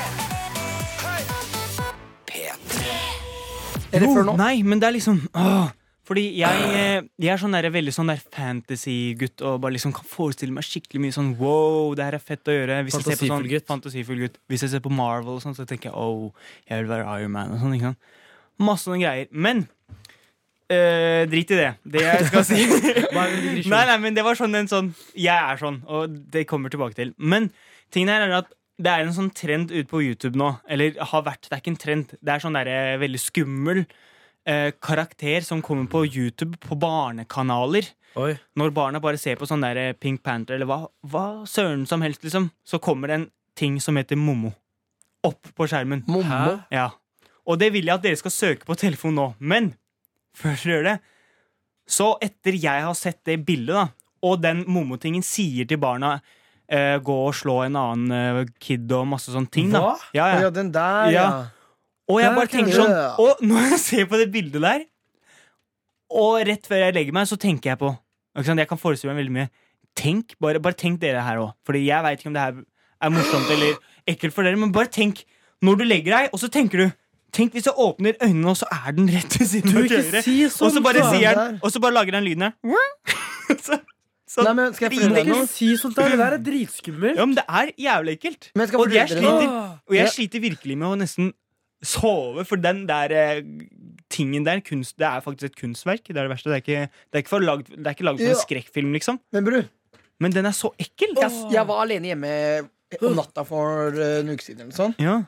S2: Eller før nå.
S1: Nei, men det er liksom åh, Fordi jeg, eh, jeg er sånn der, veldig sånn der fantasy-gutt og bare liksom kan forestille meg skikkelig mye sånn wow, det her er fett å gjøre. Hvis jeg ser på sånn,
S4: Fantasifull gutt.
S1: fantasifull gutt. Hvis jeg ser på Marvel og sånn, så tenker jeg oh, jeg vil være Iron Man og sånn. ikke sant? Masse sånne greier. Men eh, drit i det. Det jeg skal si
S4: Bare en digresjon.
S1: Nei, nei, men det var sånn en sånn Jeg er sånn, og det kommer tilbake til. Men tingen her er at det er en sånn trend ute på YouTube nå. Eller har vært. Det er ikke en trend. Det er sånn derre veldig skummel eh, karakter som kommer på YouTube på barnekanaler.
S4: Oi.
S1: Når barna bare ser på sånn der Pink Panther eller hva, hva søren som helst, liksom, så kommer det en ting som heter Mommo. Opp på skjermen.
S2: Mommo.
S1: Ja. Og det vil jeg at dere skal søke på telefon nå. Men før dere gjør det, så etter jeg har sett det bildet, da, Og den momotingen sier til barna eh, gå og slå en annen eh, kid og masse sånne ting. Da.
S4: Hva?
S1: Ja,
S2: Å
S1: ja.
S2: ja, den der, ja.
S1: Ja. Og jeg
S2: Der
S1: bare
S2: kan
S1: tenker
S2: du-
S1: sånn Og når jeg ser på det bildet der Og rett før jeg legger meg Så tenker jeg på ikke sant? Jeg kan forestille meg veldig mye Tenk, bare, bare tenk dere her også Fordi jeg vet ikke om det her er morsomt Eller ekkelt for dere Men bare tenk Når du legger deg Og så tenker du Tenk hvis jeg åpner øynene Og så er den rett ved siden av
S4: ikke
S1: øret
S4: si
S1: Og så
S4: sånn,
S1: bare
S2: faen
S1: sier
S2: der.
S1: den Og så bare lager den lyden her så, så,
S2: Nei, men skal jeg fortelle deg
S4: Ikke
S2: noe?
S4: si sånt der, det der er dritskummelt.
S1: Ja, men det er jævlig ekkelt
S2: Men jeg skal
S1: Og jeg
S2: fortelle dere noe.
S1: sliter
S4: Åh.
S1: og jeg
S2: Ja.
S1: sliter virkelig med å nesten sove, for den der eh, tingen der kunst, Det er faktisk et kunstverk. Det er det verste. Det er ikke, det er ikke, for lagd, det er ikke laget som
S2: Ja.
S1: en skrekkfilm, liksom.
S2: Men bror,
S1: Men den er så ekkel!
S2: jeg, jeg var alene hjemme eh, om natta for eh, en uke siden. Eller sånn.
S1: Ja,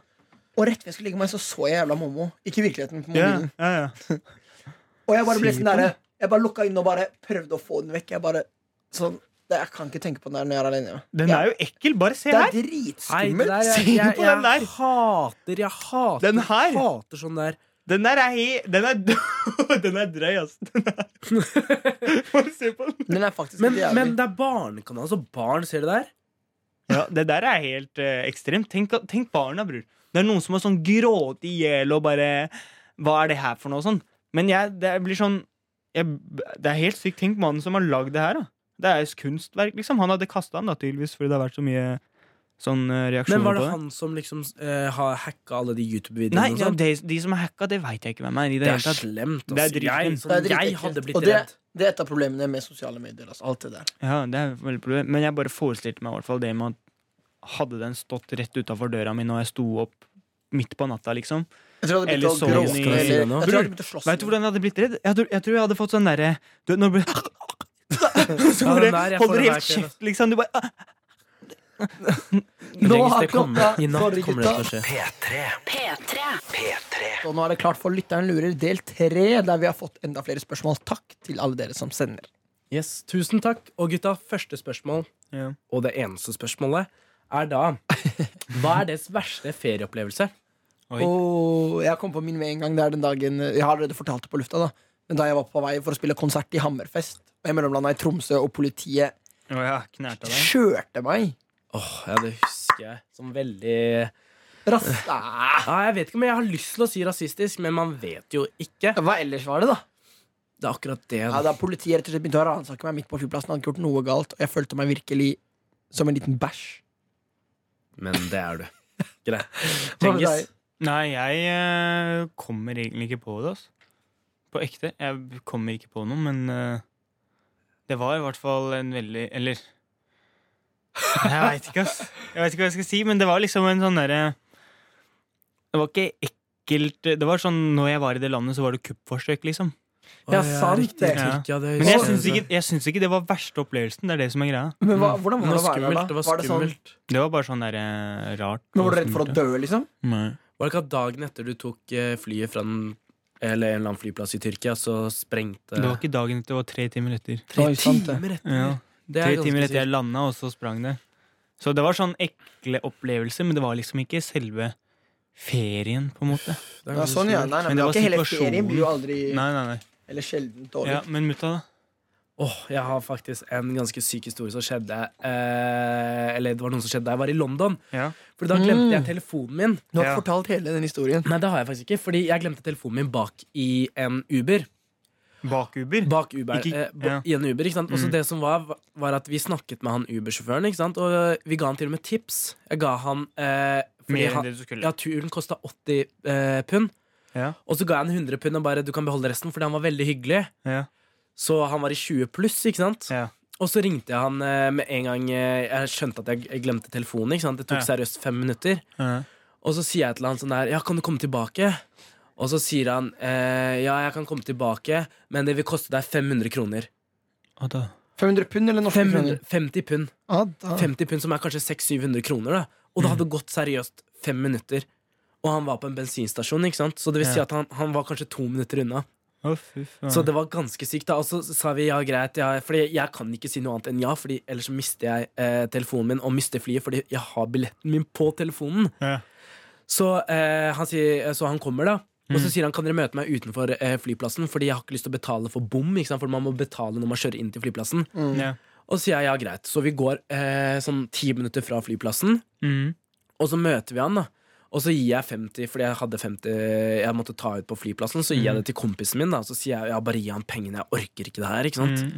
S2: Og rett ved jeg skulle legge meg, så så jeg jævla Momo. Ikke i virkeligheten på
S1: ja,
S2: mobilen.
S1: ja, ja.
S2: Og jeg bare ble
S1: Sier
S2: sånn derre Jeg bare lukka inn og bare prøvde å få den vekk. Jeg bare sånn det- Jeg kan ikke tenke på den der når jeg er alene.
S1: Den
S2: Ja.
S1: er jo ekkel! Bare se
S2: Det er
S1: her!
S4: Nei, det
S2: dritskummelt.
S4: der, jeg,
S1: Se
S4: jeg,
S1: på den
S4: jeg,
S1: der.
S4: hater, jeg hater
S1: Den her.
S4: Hater sånn der.
S1: Den der er he... Den er, den er drøy, altså. Den er. Bare se på den.
S2: Den er faktisk
S4: Men,
S2: ikke jævlig.
S4: men det er barnekanal, så barn ser det der.
S1: Ja, det der er helt eh, ekstremt. Tenk, tenk barna, bror. Det er noen som har sånn grått i hjel og bare Hva er det her for noe? og Sånn. Men jeg, det blir sånn jeg, Det er helt sykt. Tenk mannen som har lagd det her. da Det er jo kunstverk, liksom. Han hadde kasta den da, tydeligvis, fordi det har vært så mye sånn eh,
S4: Men
S1: reaksjoner
S4: var det
S1: på det.
S4: han som liksom eh, har hacka alle de
S1: Nei,
S4: YouTube-videoene? og
S1: ja,
S4: sånt?
S1: de, de som er hacka, det veit jeg ikke hvem er. I det
S4: det
S1: hele
S4: er
S1: tatt.
S4: slemt.
S1: Det er
S4: ass. jeg,
S1: dritslemt.
S4: sånn,
S2: Det er dritt
S4: jeg
S2: ekkelt.
S4: hadde
S2: Og
S4: blitt
S2: det,
S4: redd.
S2: det er et av problemene med sosiale medier. Altså. Alt det der.
S1: Ja, det er veldig problem. Men jeg bare forestilte meg i hvert fall det med at hadde den stått rett utafor døra mi når jeg sto opp midt på natta, liksom
S2: Jeg tror jeg hadde
S1: Eller
S2: begynt å
S1: Sony-
S2: gråte.
S1: Skal
S2: Eller,
S1: jeg
S4: si
S2: jeg
S4: det nå?
S2: tror jeg hadde begynt å slåss.
S1: Vet du hvordan jeg hadde blitt redd? Jeg, tror- jeg tror jeg hadde fått sånn derre du vet, Når du Så
S4: Ja,
S1: bare
S4: den der, jeg får
S1: holder
S4: den
S1: helt
S4: hver kveld,
S1: kjeft, liksom. Du bare ah,
S4: Men
S2: Nå
S4: Regis,
S2: har
S4: det kommer.
S2: klokka-
S4: I natt
S2: Sorry,
S4: kommer det til å skje.
S5: P3.
S2: Og nå er det klart for Lytteren lurer del tre, der vi har fått enda flere spørsmål. Takk til alle dere som sender.
S4: Yes, Tusen takk. Og gutta, første spørsmål,
S1: Ja.
S4: og det eneste spørsmålet, er da Hva er deres verste ferieopplevelse?
S1: Oi.
S2: Og jeg kom på min med en gang. Det er den dagen Jeg har allerede fortalt det på lufta, da. Men da jeg var på vei for å spille konsert i Hammerfest, og jeg mellomlanda i Tromsø, og politiet
S1: Å ja, knerta deg.
S2: kjørte meg
S4: Åh, Ja, det husker jeg som veldig
S2: Ras Ah.
S4: ja, Jeg vet ikke om jeg har lyst til å si rasistisk, men man vet jo ikke.
S2: Hva ellers var det, da?
S4: Det er akkurat det.
S2: Ja, da Politiet rett og slett begynte å ransake meg midt på flyplassen. Hadde ikke gjort noe galt, og jeg følte meg virkelig som en liten bæsj.
S4: Men det er du. Greit.
S2: Hva med
S4: Cengiz,
S2: deg?
S1: Nei, jeg eh, kommer egentlig ikke på det, altså. På ekte. Jeg kommer ikke på noe, men eh, det var i hvert fall en veldig Eller Jeg veit ikke, ass. Jeg vet ikke hva jeg skal si, men det var liksom en sånn derre Det var ikke ekkelt Det var sånn når jeg var i det landet, så var det kuppforsøk, liksom.
S4: Å,
S2: Ja, sant
S4: riktig.
S2: det.
S1: Ja.
S4: Tyrkia, det
S1: Men jeg
S4: husker
S1: syns ikke, jeg syns ikke det var verste opplevelsen. Det er det som er greia.
S2: Men hva, hvordan
S4: Men
S2: var
S4: det
S2: det å
S4: var
S2: være der, da?
S4: skummelt. Det var
S2: sånn,
S4: skummelt.
S1: Det var bare sånn der, eh, rart.
S2: men Var du redd for å dø, liksom?
S1: Nei.
S4: Var det ikke at dagen etter du tok eh, flyet fra den eller en eller annen flyplass i Tyrkia, så sprengte
S1: Det var ikke dagen etter, det var tre timer etter.
S2: Oi, sant det.
S4: timer etter?
S1: Ja.
S4: Det er
S1: Tre
S4: ganske
S1: timer etter jeg
S4: sykt.
S1: landa, og så sprang det. Så det var sånn ekle opplevelser, men det var liksom ikke selve ferien, på en måte.
S4: Det er
S2: Ja,
S4: ganske
S2: sånn, ja.
S4: sykt.
S2: Nei, nei,
S1: Men det
S2: men det
S1: var
S2: var ikke hele
S1: situasjonen.
S2: ferien blir jo aldri
S1: Nei, nei, nei.
S2: Eller sjelden dårlig.
S1: Ja, men mutta, da?
S4: Åh, Jeg har faktisk en ganske syk historie som skjedde eh, Eller det var noe som skjedde da jeg var i London.
S1: Ja.
S4: For da glemte
S1: Mm.
S4: jeg telefonen min.
S2: Du har
S1: Ja.
S2: fortalt hele den historien.
S4: Nei, det har jeg faktisk ikke, fordi jeg glemte telefonen min bak i en Uber.
S1: Bakuber.
S4: Bak Uber,
S1: Ikke-
S4: eh, ba-
S1: ja. Mm.
S4: I en Uber, ikke sant? Og så det som var, var at vi snakket med han Uber-sjåføren, ikke sant? Og eh, vi ga han til og med tips. Jeg ga han eh, fordi
S1: Mer
S4: han-
S1: enn det du skulle.
S4: Ja, turen kosta 80 eh, pund.
S1: Ja.
S4: Og så ga jeg han 100 pund og bare du kan beholde resten, fordi han var veldig hyggelig.
S1: Ja.
S4: Så han var i 20 pluss, ikke sant?
S1: Ja.
S4: Og så ringte jeg han eh, med en gang eh, jeg skjønte at jeg glemte telefonen. ikke sant? Det tok
S1: Ja.
S4: seriøst fem minutter.
S1: Ja.
S4: Og så sier jeg til han sånn der Ja, kan du komme tilbake? Og så sier han eh, ja, jeg kan komme tilbake, men det vil koste deg 500 kroner.
S1: Og da?
S2: 500 pund eller norske
S4: 500,
S2: kroner?
S4: 50 pund.
S2: Ah, da.
S4: 50 pund som er kanskje 600-700 kroner. da Og det
S1: Mm.
S4: hadde gått seriøst fem minutter. Og han var på en bensinstasjon, ikke sant? så det vil si
S1: Ja.
S4: at han, han var kanskje to minutter unna.
S1: Å, fy faen.
S4: Så det var ganske sykt. da Og så sa vi ja, greit. Ja, fordi jeg kan ikke si noe annet enn ja, Fordi ellers så mister jeg eh, telefonen min og mister flyet fordi jeg har billetten min på telefonen.
S1: Ja.
S4: Så, eh, han sier, så han kommer, da. Og
S1: Mm.
S4: så sier han kan dere møte meg utenfor
S2: Mm.
S4: eh, flyplassen, Fordi jeg har ikke lyst til å betale for bom. Ikke sant? For man må betale når man kjører inn til flyplassen.
S1: ja.
S4: Og så sier jeg ja, greit. Så vi går eh, sånn ti minutter fra flyplassen,
S1: Mm.
S4: og så møter vi han, da. Og så gir jeg 50, fordi jeg hadde 50 Jeg måtte ta ut på flyplassen. Så gir jeg det til kompisen min, da. Så sier jeg ja, bare gi han pengene, jeg orker ikke det her. ikke sant?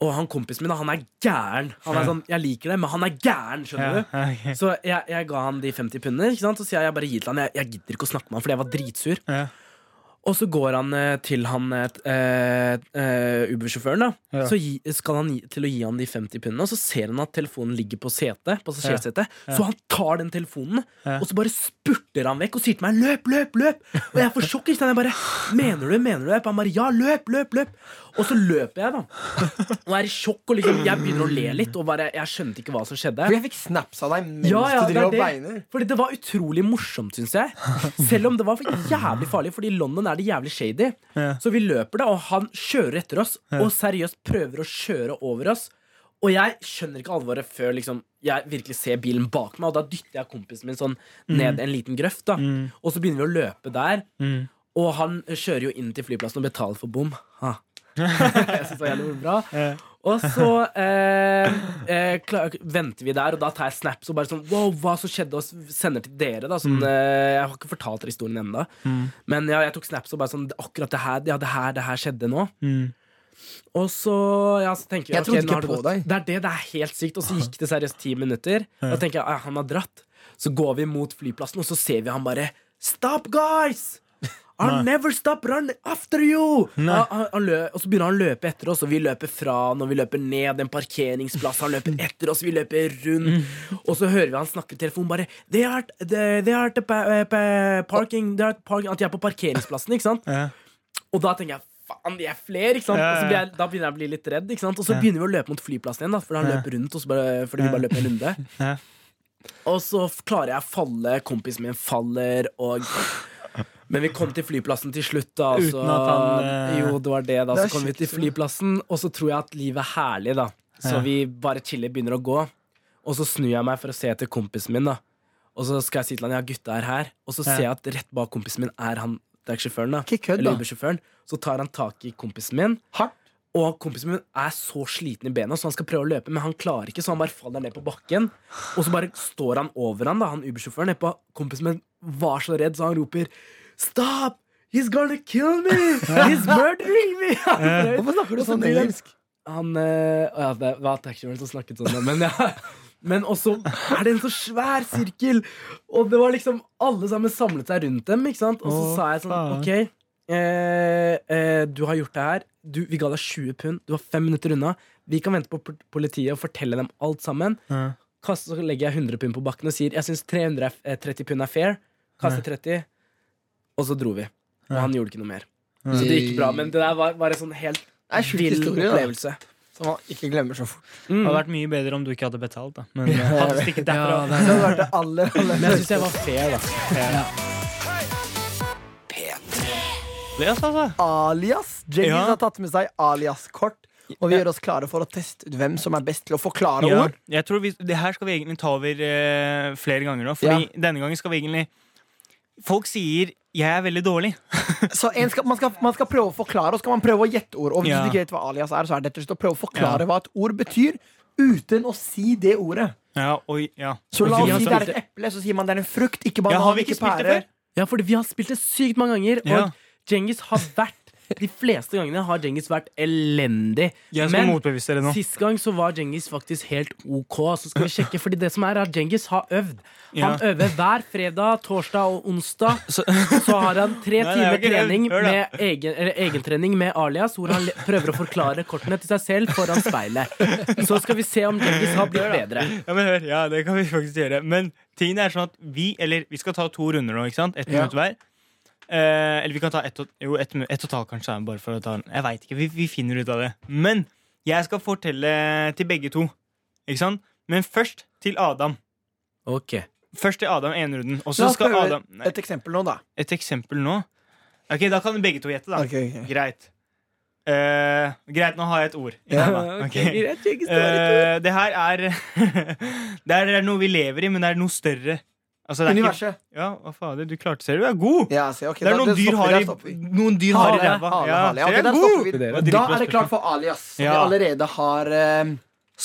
S4: Og han kompisen min, da, han er gæren. Han er sånn, Jeg liker det, men han er gæren, skjønner du?
S1: Ja, ok.
S4: Så jeg, jeg ga han de 50 pundene, ikke sant? så sier jeg jeg bare gir til han. Jeg, jeg gidder ikke å snakke med han, fordi jeg var dritsur.
S1: Ja.
S4: Og så går han eh, til han eh, eh, Uber-sjåføren, da.
S1: Ja.
S4: Så gi, skal han gi, til å gi han de 50 pundene, og så ser han at telefonen ligger på setet. Passasjersetet. Så han tar den telefonen,
S1: Ja.
S4: og så bare spurter han vekk og sier til meg 'løp, løp, løp'. Og jeg får sjokk. ikke sant? Jeg bare 'mener du, mener du?' Han bare 'ja, løp, løp, løp'. Og så løper jeg, da. Og er i sjokk, og liksom, jeg begynner å le litt, og bare, jeg skjønte ikke hva som skjedde.
S2: For jeg fikk snaps av deg mens
S4: Ja, ja,
S2: du
S4: det er
S2: driver og
S4: det.
S2: beiner.
S4: Fordi det var utrolig morsomt, syns jeg. Selv om det var jævlig farlig, fordi i London er det jævlig shady.
S1: Ja.
S4: Så vi løper da, og han kjører etter oss, og seriøst prøver å kjøre over oss. Og jeg skjønner ikke alvoret før liksom, jeg virkelig ser bilen bak meg, og da dytter jeg kompisen min sånn
S2: Mm.
S4: ned en liten grøft. da Og så begynner vi å løpe der,
S2: Mm.
S4: og han kjører jo inn til flyplassen og betaler for bom. Ha. jeg synes det var jævlig bra og så eh, eh, klar, venter vi der, og da tar jeg snaps og bare sånn Wow, hva som skjedde? Og s- sender til dere, da. Sånn, eh, jeg har ikke fortalt dere historien ennå. Men ja, jeg tok snaps og bare sånn Akkurat det her, ja, det her, det her skjedde nå. Og så, ja, så tenker
S2: Jeg
S4: ok,
S2: trodde
S4: nå
S2: ikke
S4: har det
S2: på
S4: gått-
S2: deg.
S4: Det er det, det er helt sykt. Og så gikk det seriøst ti minutter. Og da tenker jeg, ah, han har dratt. Så går vi mot flyplassen, og så ser vi han bare Stop, guys! I'll never stop running after you! Og, han- han lø- og så begynner han å løpe etter oss, og vi løper fra han, og vi løper ned en parkeringsplass. Han løper etter oss, vi løper rundt. Og så hører vi han snakke i telefonen bare They are, they, they are at the pa, eh, pa, parking, they are at the parking At de er på parkeringsplassen, ikke sant?
S1: Ja.
S4: Og da tenker jeg faen, de er flere, ikke sant?
S1: Ja, ja,
S4: Og så blir jeg, da begynner jeg å bli litt redd, ikke sant? Og så begynner vi å løpe mot flyplassen igjen, da, for han løper rundt, og så bare, fordi vi bare løper en runde.
S1: Ja.
S4: Og så f- klarer jeg å falle, kompisen min faller, og men vi kom til flyplassen til slutt. da og så-
S1: Uten at han, eh,
S4: Jo, det var det da
S2: Det er
S4: Så kom vi til
S2: sjukt, det.
S4: flyplassen, og så tror jeg at livet er herlig. da Så
S1: Ja.
S4: vi bare chiller, begynner å gå. Og så snur jeg meg for å se etter kompisen min. da Og så skal jeg si til han, ja gutta er her Og så ser jeg at rett bak kompisen min er han taxisjåføren. da
S2: Ikke kødd,
S4: Eller
S2: da.
S4: Uber-sjåføren. Så tar han tak i kompisen min.
S2: Hardt.
S4: Og kompisen min er så sliten i bena, så han skal prøve å løpe, men han klarer ikke, så han bare faller ned på bakken. Og så bare står han over han, da, han Uber-sjåføren nedpå. Kompisen min var så redd, så han roper 'Stop! He's gonna kill me! He's murdering me!' Han,
S2: Eh, Hvorfor snakker du sånn
S4: blir det-
S2: engelsk?
S4: han eh, å ja, Det var taxisjåføren som snakket sånn, da, men ja. Men også er det en så svær sirkel! Og det var liksom alle sammen samlet seg rundt dem. ikke sant? Og så
S1: Å,
S4: sa jeg sånn
S1: faen.
S4: OK, eh, eh, du har gjort det her. Du, vi ga deg 20 pund. Du var fem minutter unna. Vi kan vente på pol- politiet og fortelle dem alt sammen.
S1: Ja.
S4: Kast, så legger jeg 100 pund på bakken og sier jeg syns 330 pund er fair. Kaster 30. Og så dro vi. Og han gjorde ikke noe mer. Så det gikk bra. Men det der var, var en sånn helt
S2: Det er en sjuk
S4: vill
S2: historie, da.
S4: opplevelse.
S2: Som man ikke glemmer så fort.
S1: Det hadde vært mye bedre om du ikke hadde betalt, da. Men eh, hadde stikket derfra.
S2: Det hadde vært det aller, aller
S4: Men jeg syns jeg var fair, da.
S1: Yes, altså.
S2: Alias. Jengis
S1: Ja.
S2: har tatt med seg alias-kort. Og vi gjør oss klare for å teste ut hvem som er best til å forklare
S1: Ja,
S2: ord.
S1: jeg tror vi, Det her skal vi egentlig ta over eh, flere ganger nå. Fordi denne gangen skal vi egentlig Folk sier 'jeg er veldig dårlig'.
S2: Så en skal, man, skal, man skal prøve å forklare, og så skal man prøve å gjette ord. Og hvis
S1: Ja.
S2: du ikke vet hva alias er, så er det rett og slett å prøve å forklare hva et ord betyr, uten å si det ordet.
S1: Ja, oi, ja.
S2: Så la
S1: Og sånn, vi
S2: oss si det
S1: har
S2: er et eple, så sier man det er en frukt, ikke
S1: Ja,
S2: banan,
S1: har vi
S2: ikke
S1: ikke spilt det
S2: pære.
S1: før?
S4: Ja, fordi vi har spilt det sykt mange ganger, og
S1: Ja.
S4: Djengis har vært De fleste gangene har Djengis vært elendig.
S1: Jeg skal motbevise dere nå.
S4: sist gang så var Djengis faktisk helt OK. Så skal vi sjekke, fordi det som er, er at Djengis har øvd. Han
S1: Ja.
S4: øver hver fredag, torsdag og onsdag. Så, har han
S1: Nei,
S4: tre
S1: det
S4: timer
S1: er jo ikke øvd.
S4: trening
S1: Hør da.
S4: med egen, eller egentrening med alias, hvor han le- prøver å forklare kortene til seg selv foran speilet. Så skal vi se om Djengis har blitt bedre.
S1: Ja, men hør, ja, det kan vi faktisk gjøre. Men tingene er sånn at vi Eller vi skal ta to runder nå, ikke sant? Ett minutt hver. Eh, eller vi kan ta ett og, jo, ett, minu- ett og et halvt, kanskje. Bare for å ta den. Jeg veit ikke. Vi, vi finner ut av det. Men jeg skal fortelle til begge to. Ikke sant? Men først til Adam.
S4: Ok
S1: Først til Adam ene runden. Og
S2: La
S1: så
S2: oss
S1: skal
S2: prøve
S1: Adam Nei,
S2: et eksempel nå, da.
S1: Et eksempel nå. Ok, Da kan begge to gjette, da.
S2: Ok, ok.
S1: Greit. Eh, greit, nå har jeg et ord. i hånda. Ok. Eh, det her er det, er det er noe vi lever i, men det er noe større. Altså, det er ikke,
S2: Universet.
S1: ja, hva fader, du klarte ser du er god!
S2: Ja, se, ok,
S1: det er
S2: da-
S1: noen dyr
S2: stopper vi,
S1: har
S2: der
S1: i
S2: stopper vi.
S1: Noen dyr har i
S2: Hale,
S1: ræva.
S2: hale,
S1: Ja,
S2: hale.
S1: ser
S2: Ok,
S1: du er
S2: der
S1: god!
S2: stopper vi.
S1: Det var
S2: Da
S1: dritbra
S2: er det klart for alias, som
S1: Ja.
S2: vi allerede har eh,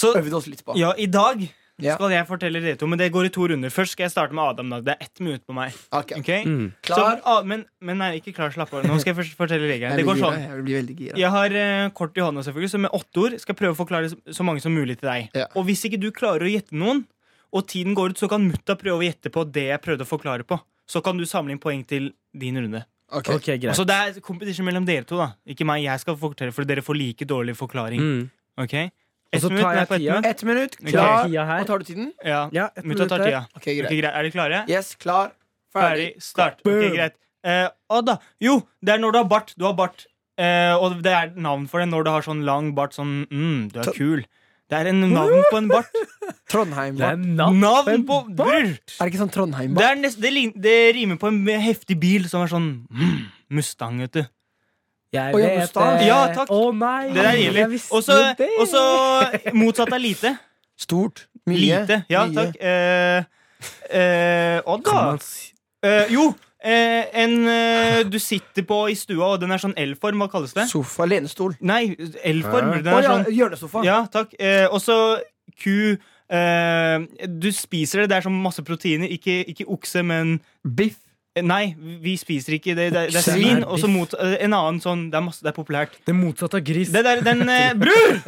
S1: Så
S2: Øvde oss litt på.
S1: ja, i dag
S2: Ja.
S1: skal jeg fortelle dere to, men det går i to runder. Først skal jeg starte med Adam. Da. Det er ett minutt på meg.
S2: Ok.
S1: ok?
S4: Mm.
S2: Klar?
S1: Så, ah, men, men nei, ikke klar. Slapp av. Nå skal jeg først fortelle regelen.
S2: Jeg
S1: Det
S2: blir
S1: går
S2: gira,
S1: sånn.
S2: Jeg blir veldig gira.
S1: Jeg har eh, kort i hånda, selvfølgelig, så med åtte ord skal jeg prøve å forklare så- så mange som mulig til deg.
S2: Ja.
S1: Og hvis ikke du klarer å gjette noen, og tiden går ut, så kan mutta prøve å gjette på det jeg prøvde å forklare på. Så kan du samle inn poeng til din runde.
S2: Ok.
S4: Ok, greit.
S1: Så det er competition mellom dere to, da. Ikke meg. Jeg skal fortelle, for dere får like dårlig forklaring.
S4: Mm.
S1: Ok?
S4: Og
S1: Ett
S4: så tar
S1: minutt,
S4: jeg
S1: nei, på ett
S4: tida.
S1: minutt.
S2: Ett minutt,
S1: Ok.
S2: klar.
S4: Tida her.
S2: Og tar du tiden?
S1: Ja.
S4: Ja, ett
S1: Mutta
S4: minutt
S1: tar
S4: der.
S1: tida.
S2: Ok, greit.
S1: Ok, greit. Er dere klare?
S2: Yes, klar, ferdig.
S1: Ferdig, start. Ok,
S4: Boom.
S1: greit. Eh, og da, jo, det er når du har bart. Du har bart. Eh, og det er navn for det når du har sånn lang bart. Sånn mm, du er
S2: Ta-
S1: kul. Det er en navn på en bart.
S2: Trondheim.
S4: Det
S2: Er
S4: er
S1: Navn på bror!
S2: det ikke sånn Trondheim?
S1: Det, er nest, det, lign- det rimer på en heftig bil som er sånn mm, Mustang, vet du.
S4: Jeg
S2: Å, ja,
S4: vet
S2: Gustav.
S4: det.
S1: Ja, takk.
S4: Å nei!
S1: Det der
S4: Jeg
S1: gjelder.
S4: visste
S1: Og så-
S4: det.
S1: Og så motsatt av lite.
S2: Stort. Mye.
S1: Lite. Ja,
S2: mye.
S1: takk. Eh, eh, og da
S4: Kan man si-
S1: eh, Jo! Eh, en eh, du sitter på i stua, og den er sånn L-form. Hva kalles det?
S2: Sofa. Lenestol.
S1: Nei, L-form. Den
S2: Eh. Å
S1: er
S2: ja,
S1: sånn
S2: hjørnesofa.
S1: Ja, takk. Eh, og så ku. Eh, du spiser det. Det er sånn masse proteiner. Ikke, ikke okse, men
S2: Biff.
S1: eh, Nei, vi spiser ikke det. Det, det er
S2: Okse.
S1: svin.
S4: Nei,
S1: Og så
S4: biff.
S1: mot eh, en annen sånn. Det er, masse, det er populært.
S4: Det motsatte av gris.
S1: Det der, den eh, Bror!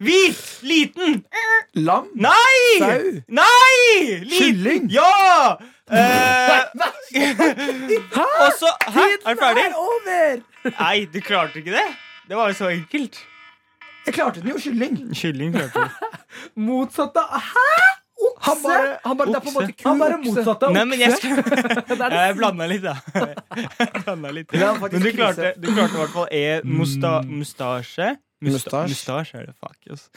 S1: Hvit! Liten!
S2: Lam.
S1: Nei!
S2: Sau.
S1: Nei!
S2: Kylling.
S1: Ja! Eh, og så Hæ? Er du ferdig?
S2: Tiden er over!
S1: Nei, du klarte ikke det? Det var jo så enkelt.
S2: Jeg klarte den jo, kylling.
S1: Kylling klarte du.
S4: motsatte av Hæ?!
S2: Han bare, han bare, det er på en måte
S1: Okse.
S2: ku
S4: Han bare
S2: okse.
S4: motsatte av
S1: Nei, men jeg skal
S4: Det er det
S1: Jeg blanda litt, da. Jeg blanda litt.
S2: Ja, faktisk
S1: Men du
S2: krise.
S1: klarte, du klarte i hvert fall en musta, mustasje. Musta-
S2: Mustasj.
S1: Mustasje er det fuck, ass.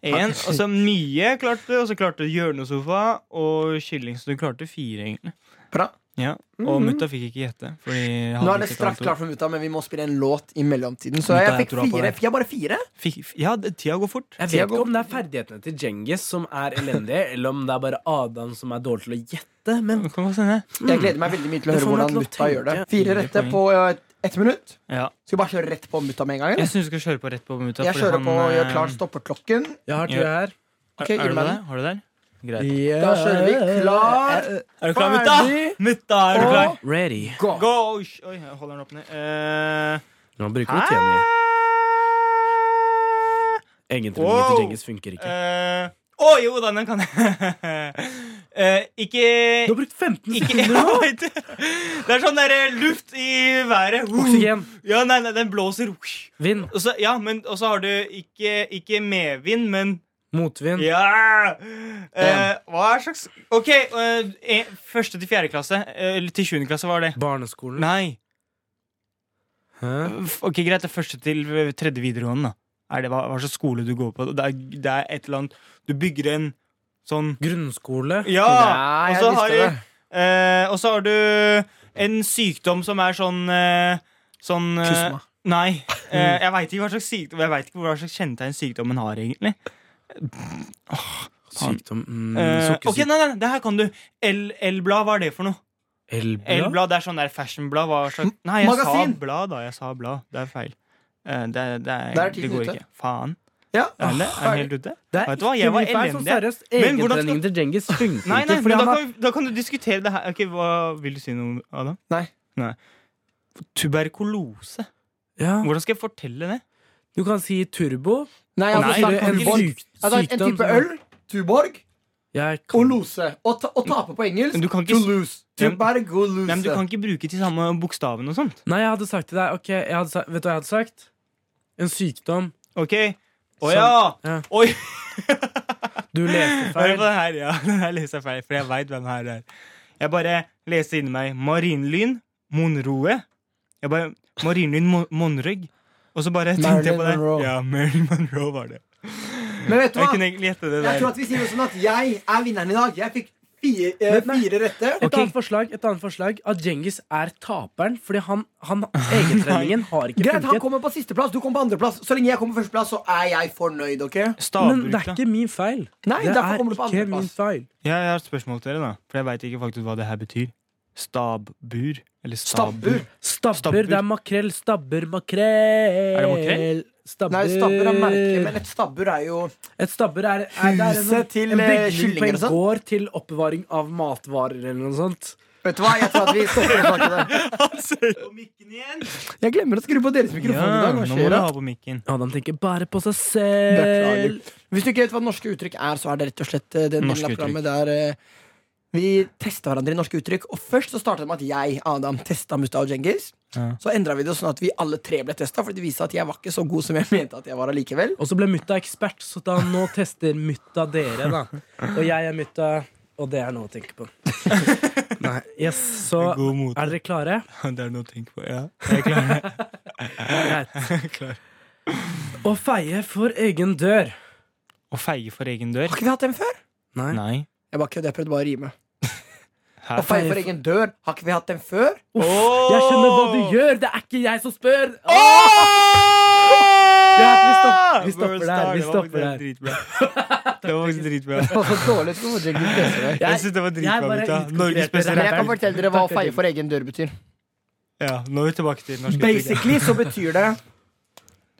S1: En, og så mye klarte du, og så klarte du hjørnesofa og kylling. Så du klarte fire, egentlig.
S2: Bra.
S1: Ja. Og mutta fikk ikke gjette. Fordi jeg hadde
S2: Mhm. Nå er det
S1: ikke et
S2: straks
S1: annet ord.
S2: klart for mutta, men vi må spille en låt i mellomtiden.
S1: Mutta,
S2: Så jeg
S1: jeg
S2: fikk
S1: tror på
S2: fire.
S1: deg.
S2: Fikk jeg bare fire?
S1: Fikk, ja, det, tida går fort.
S4: Jeg vet ikke om det er ferdighetene til Djengis som er elendige, eller om det er bare Adam som er dårlig til å gjette. Men
S1: Det kan godt hende.
S2: Jeg gleder meg veldig mye til å
S4: Det
S2: høre
S4: får meg
S2: hvordan
S4: til å
S2: mutta gjør det.
S4: tenke.
S2: Fire
S1: Fire
S2: rette
S1: poeng.
S2: på eh, ett minutt.
S1: Ja.
S2: Skal vi bare kjøre rett på mutta med en gang?
S1: Jeg
S2: Eller?
S1: syns du skal kjøre på rett på mutta.
S2: Jeg
S1: fordi
S2: kjører
S1: han,
S2: på og gjør
S1: eh,
S2: klar stopperklokken.
S4: jeg har tida her.
S2: Ok,
S1: er,
S2: gir
S1: er
S2: meg
S1: du det?
S2: den.
S1: Har du det? Greit.
S4: Ja.
S2: Da kjører vi. Klar,
S1: Er du klar, mutta? Mutta, er du
S2: Og-
S1: klar?
S4: Ready.
S2: gå!
S1: Go! Oi, jeg holder den opp ned. Eh,
S4: Nå bruker
S1: Hæ?
S4: vi tida Egentringen
S1: Wow.
S4: til Djengis funker ikke.
S1: Eh, Å jo da, den kan jeg. Eh, ikke
S4: Du har brukt 15
S1: ikke,
S4: sekunder nå!
S1: Det er sånn der eh, luft i været.
S4: Oksygen.
S1: Ja, nei, nei, den blåser. Og
S4: Vind.
S1: så, ja, men, og så har du ikke, ikke medvind, men
S4: Motvind.
S1: Ja! Eh, hva er slags OK, eh, eh, første til fjerde klasse. eh, Eller til sjuende klasse, var det?
S4: Barneskolen.
S1: Nei.
S4: Hæ?
S1: F- Ok, Greit, det er første til eh, tredje videregående. da er det, hva, hva slags skole du går på? Det er, det er et eller annet Du bygger en sånn
S4: Grunnskole.
S1: Ja!
S2: Nei,
S1: og
S2: jeg
S1: så har,
S2: visste det.
S1: eh, og så har du en sykdom som er sånn eh, Sånn eh,
S2: Kusma. Mm.
S1: Nei. eh, jeg veit ikke hva slags sykdom Jeg vet ikke hva slags kjennetegn sykdommen har, egentlig.
S4: Sykdom. Mm,
S1: Eh, ok,
S4: Sukkersyke.
S1: nei, nei, det her kan du. L- L-blad, hva er det for noe?
S4: Elblad.
S1: L-blad, det er sånn der fashionblad. Hva slags Nei, jeg
S2: magasin.
S1: sa blad, da. Jeg sa blad. Det er feil. Eh, det, er- det, er,
S2: Der er
S1: det,
S2: tiden
S1: går
S2: ute.
S1: ikke. Faen.
S2: Ja.
S1: Er det, er det helt ute?
S4: Det er
S1: Vet du hva, jeg
S4: ikke
S1: var
S4: min feil, sånn
S1: elendig.
S4: seriøst.
S1: Men hvordan
S4: Egentregningen til Djengis funker
S1: Nei, nei,
S4: ikke.
S1: men
S4: Fordi
S1: da
S4: han har
S1: kan, vi- da kan du diskutere det her. Ok, hva Vil du si noe, Adam?
S2: Nei.
S1: nei. Tuberkulose.
S4: Ja.
S1: Hvordan skal jeg fortelle det?
S4: Du kan si turbo.
S2: Nei, jeg
S1: Nei, det
S2: hadde
S1: er
S2: sagt
S1: en
S2: Tuborg. Jeg hadde
S4: syk-
S2: sagt Altså, en
S4: sykdom
S2: type
S4: som-
S2: øl, Tuborg
S4: Jeg
S2: og
S4: kan
S2: lose. Og, ta, og tape på engelsk
S1: Men du kan ikke-
S2: to lose.
S1: Ja, men-
S2: Tuborg og lose.
S1: Nei, men Du kan ikke bruke de samme bokstavene og sånt.
S4: Nei, jeg hadde sagt til deg Ok, jeg hadde sa- Vet du hva jeg hadde sagt? En sykdom.
S1: Ok? Å ja!
S4: Ja.
S1: Oi!
S4: Du
S1: Hør på
S4: leste feil.
S1: den her, ja. Den her leser jeg feil, for jeg veit hvem her er. Jeg bare leste inni meg Marinlyn, Monroe. Jeg bare Marinlyn Mon Monrøg. Og så bare tenkte jeg på det.
S2: Marilyn Monroe.
S1: Ja, Marilyn Monroe var det.
S2: Men vet du
S1: Jeg
S2: hva?
S1: kunne egentlig gjette det
S2: Jeg
S1: der.
S2: tror at vi sier noe sånn at jeg er vinneren i dag. Jeg fikk fire, eh, fire rette.
S4: Et annet forslag et annet forslag at Djengis er taperen fordi han, han egentreningen har ikke
S2: Greit, han
S4: funket.
S2: kommer på sisteplass, du kommer på andreplass. Så lenge jeg kommer på førsteplass, så er jeg fornøyd. ok?
S4: Men det
S1: Stavbruk,
S4: er
S1: da.
S4: ikke min feil.
S2: Nei,
S4: det
S2: derfor
S4: er
S2: kommer du på
S4: ikke
S2: andreplass.
S4: min feil.
S1: Ja, jeg har et spørsmål til dere, da. For jeg veit ikke faktisk hva det her betyr. Stabbur? Eller
S2: Stabbur?
S1: stabbur?
S4: Stabber,
S1: Stabber.
S4: det er makrell. Stabber, makrell.
S1: Er det makrell?
S4: Stabber.
S2: Nei, stabbur er merke, men et stabbur er jo
S4: Et stabber er, er det er
S2: Huset til,
S4: en
S2: eh,
S4: bygning på
S2: kyllinger
S4: en
S2: og sånt?
S4: gård til oppbevaring av matvarer eller noe sånt.
S2: Vet du hva, jeg tror at vi stopper å snakke der.
S7: Og mikken igjen.
S2: Jeg glemmer å skru på deres mikrofon
S1: Ja,
S2: i dag.
S1: nå
S2: Hva
S1: må
S2: skjer
S1: du
S2: da?
S1: ha på mikken.
S4: Adam tenker bare på seg selv.
S2: Beklager. Eh, Hvis du ikke vet hva norske uttrykk er, så er det rett og slett eh, den delen
S1: Norske
S2: av programmet der eh, vi testa hverandre i norske uttrykk. Og først så startet det med at jeg, Adam, testa Mustad og Djengis.
S1: Ja.
S2: Så endra vi det sånn at vi alle tre ble testa, fordi det viste seg at jeg var ikke så god som jeg mente at jeg var allikevel.
S4: Og så ble mutta ekspert, så da nå tester mutta dere, da. Og jeg er mutta, og det er noe å tenke på. Nei, yes, Så
S1: God mot.
S4: er dere klare?
S1: Det er noe å tenke på. Ja.
S4: Greit.
S1: Klar.
S4: Å feie for egen dør.
S1: Å feie for egen dør?
S2: Har ikke vi hatt den før?
S4: Nei.
S1: Nei.
S2: Jeg bare kødder, jeg prøvde bare å rime.
S1: Hæ?
S2: Og feie for egen dør. Har ikke vi hatt den før?
S4: Jeg skjønner hva du gjør, det er ikke jeg som spør! Greit, vi stopp- vi stopper der, vi stopper der.
S1: der. Det var faktisk dritbra.
S2: Det var så dårlig ut hvor Djengis presser deg.
S1: Jeg synes det var
S4: jeg
S1: dritbra,
S4: bare
S1: gutta.
S4: utkonkurrerte
S1: Norges beste
S4: dere.
S2: Men jeg
S1: rapper.
S2: kan fortelle dere hva å
S4: Takk,
S2: feie for egen dør betyr.
S1: Ja, nå er vi tilbake til norsk uttrykk.
S2: Basically så betyr det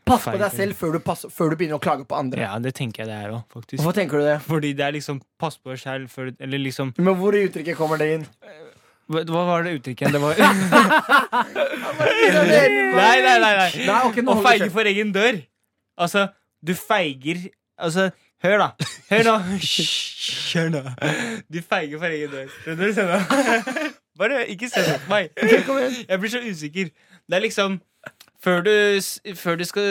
S2: Pass på
S1: Feie
S2: deg
S1: for-
S2: selv før du, pass, før du begynner å klage på andre.
S1: Ja, det tenker jeg det er òg, faktisk.
S2: Hvorfor tenker du det?
S1: Fordi det er liksom pass på deg selv før Eller liksom
S2: Men hvor i uttrykket kommer det inn?
S1: Hva hva var det uttrykket? Det var
S2: Nei,
S1: Nei, nei, nei. nei.
S2: Nei, ok, nå
S1: Å
S2: holder
S1: feige
S2: du kjeft.
S1: for egen dør. Altså, du feiger Altså, hør, da. Hør nå. Hysj, Hør nå. Du feiger for egen dør. Skjønner du? Senna? Bare ikke se på meg. Jeg blir så usikker. Det er liksom Før du, s- før du skal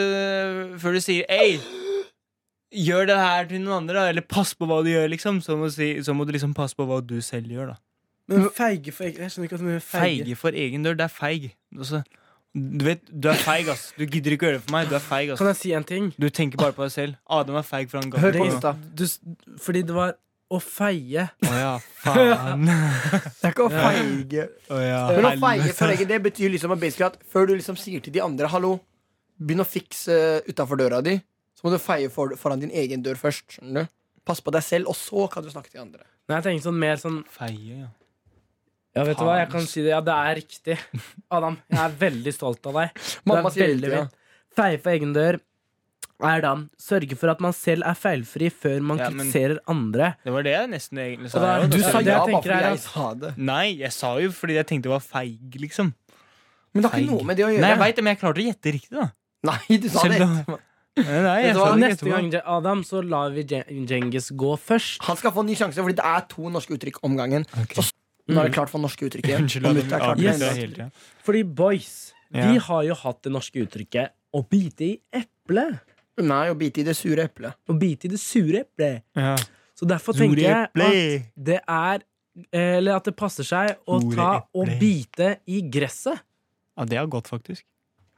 S1: Før du sier Ei, gjør det her til noen andre, da. Eller pass på hva du gjør, liksom. Så må, si, så må du liksom passe på hva du selv gjør, da.
S4: Men feige for egen Jeg skjønner ikke hva som er feige.
S1: Feige for egen dør. Det er feig. Altså, du vet, du er feig, ass. Du gidder ikke å gjøre det for meg. Du er feig, ass.
S4: Kan jeg si en ting?
S1: Du tenker bare på deg selv. Adam er feig, for han ga
S2: Hør
S1: det
S2: på
S1: ikke
S2: Insta.
S4: Du, s- fordi det var å feie.
S1: noe. Å ja, faen.
S2: Det er ikke å feige.
S1: Å ja,
S2: Men å feige
S1: helvete.
S2: for egen det betyr liksom basically at før du liksom sier til de andre 'hallo, begynn å fikse utafor døra di', så må du feie for, foran din egen dør først. Skjønner du? Pass på deg selv, og så kan du snakke til de andre.
S4: Nei, jeg tenker sånn mer sånn
S1: Feige, ja.
S4: Ja, vet du hva, jeg kan si det. Ja, det er riktig. Adam, jeg er veldig stolt av deg. Du er
S2: Mamma sier
S4: veldig
S2: riktig, ja.
S4: vel- Feie for egen dør er da sørge for at man selv er feilfri før man
S1: Ja, men-
S4: kritiserer andre.
S1: Det var det jeg nesten egentlig sa.
S4: Og da-
S1: jeg også.
S4: du sa
S2: Så
S4: det jeg
S2: ja, bare
S4: tenker
S2: fordi
S4: er
S2: jeg
S4: at-
S2: sa det.
S1: Nei, jeg sa jo fordi jeg tenkte det var feig, liksom.
S2: Men det har ikke
S1: Feig.
S2: noe med det å gjøre.
S1: Nei, jeg veit det, men jeg klarte å gjette riktig, da.
S2: Nei, du sa
S1: Selv
S2: det.
S1: da- Nei, jeg
S2: du
S1: sa
S2: hva,
S1: det ikke
S4: Neste
S1: etterpå.
S4: gang, Adam, så lar vi Djengis gå først.
S2: Han skal få en ny sjanse, fordi det er to norske uttrykk om gangen.
S1: Ok.
S2: Nå er det klart for norske uttrykk igjen.
S1: Unnskyld,
S2: Og
S1: Adam.
S2: mutta er klart
S1: Ja,
S2: for
S1: det
S4: Mm. Yes.
S1: er
S2: norske
S1: helt rett.
S4: Fordi boys,
S1: Ja.
S4: vi har jo hatt det norske uttrykket 'å bite i eplet'.
S2: uttrykk. Nei, å bite i det sure eplet.
S4: Å bite i det sure eplet.
S1: Ja.
S4: Så derfor
S1: Sure
S4: tenker jeg
S1: eple.
S4: at det er Eller at det passer seg å
S1: Sure
S4: ta og
S1: eple.
S4: bite i gresset.
S1: ja, det er godt, faktisk.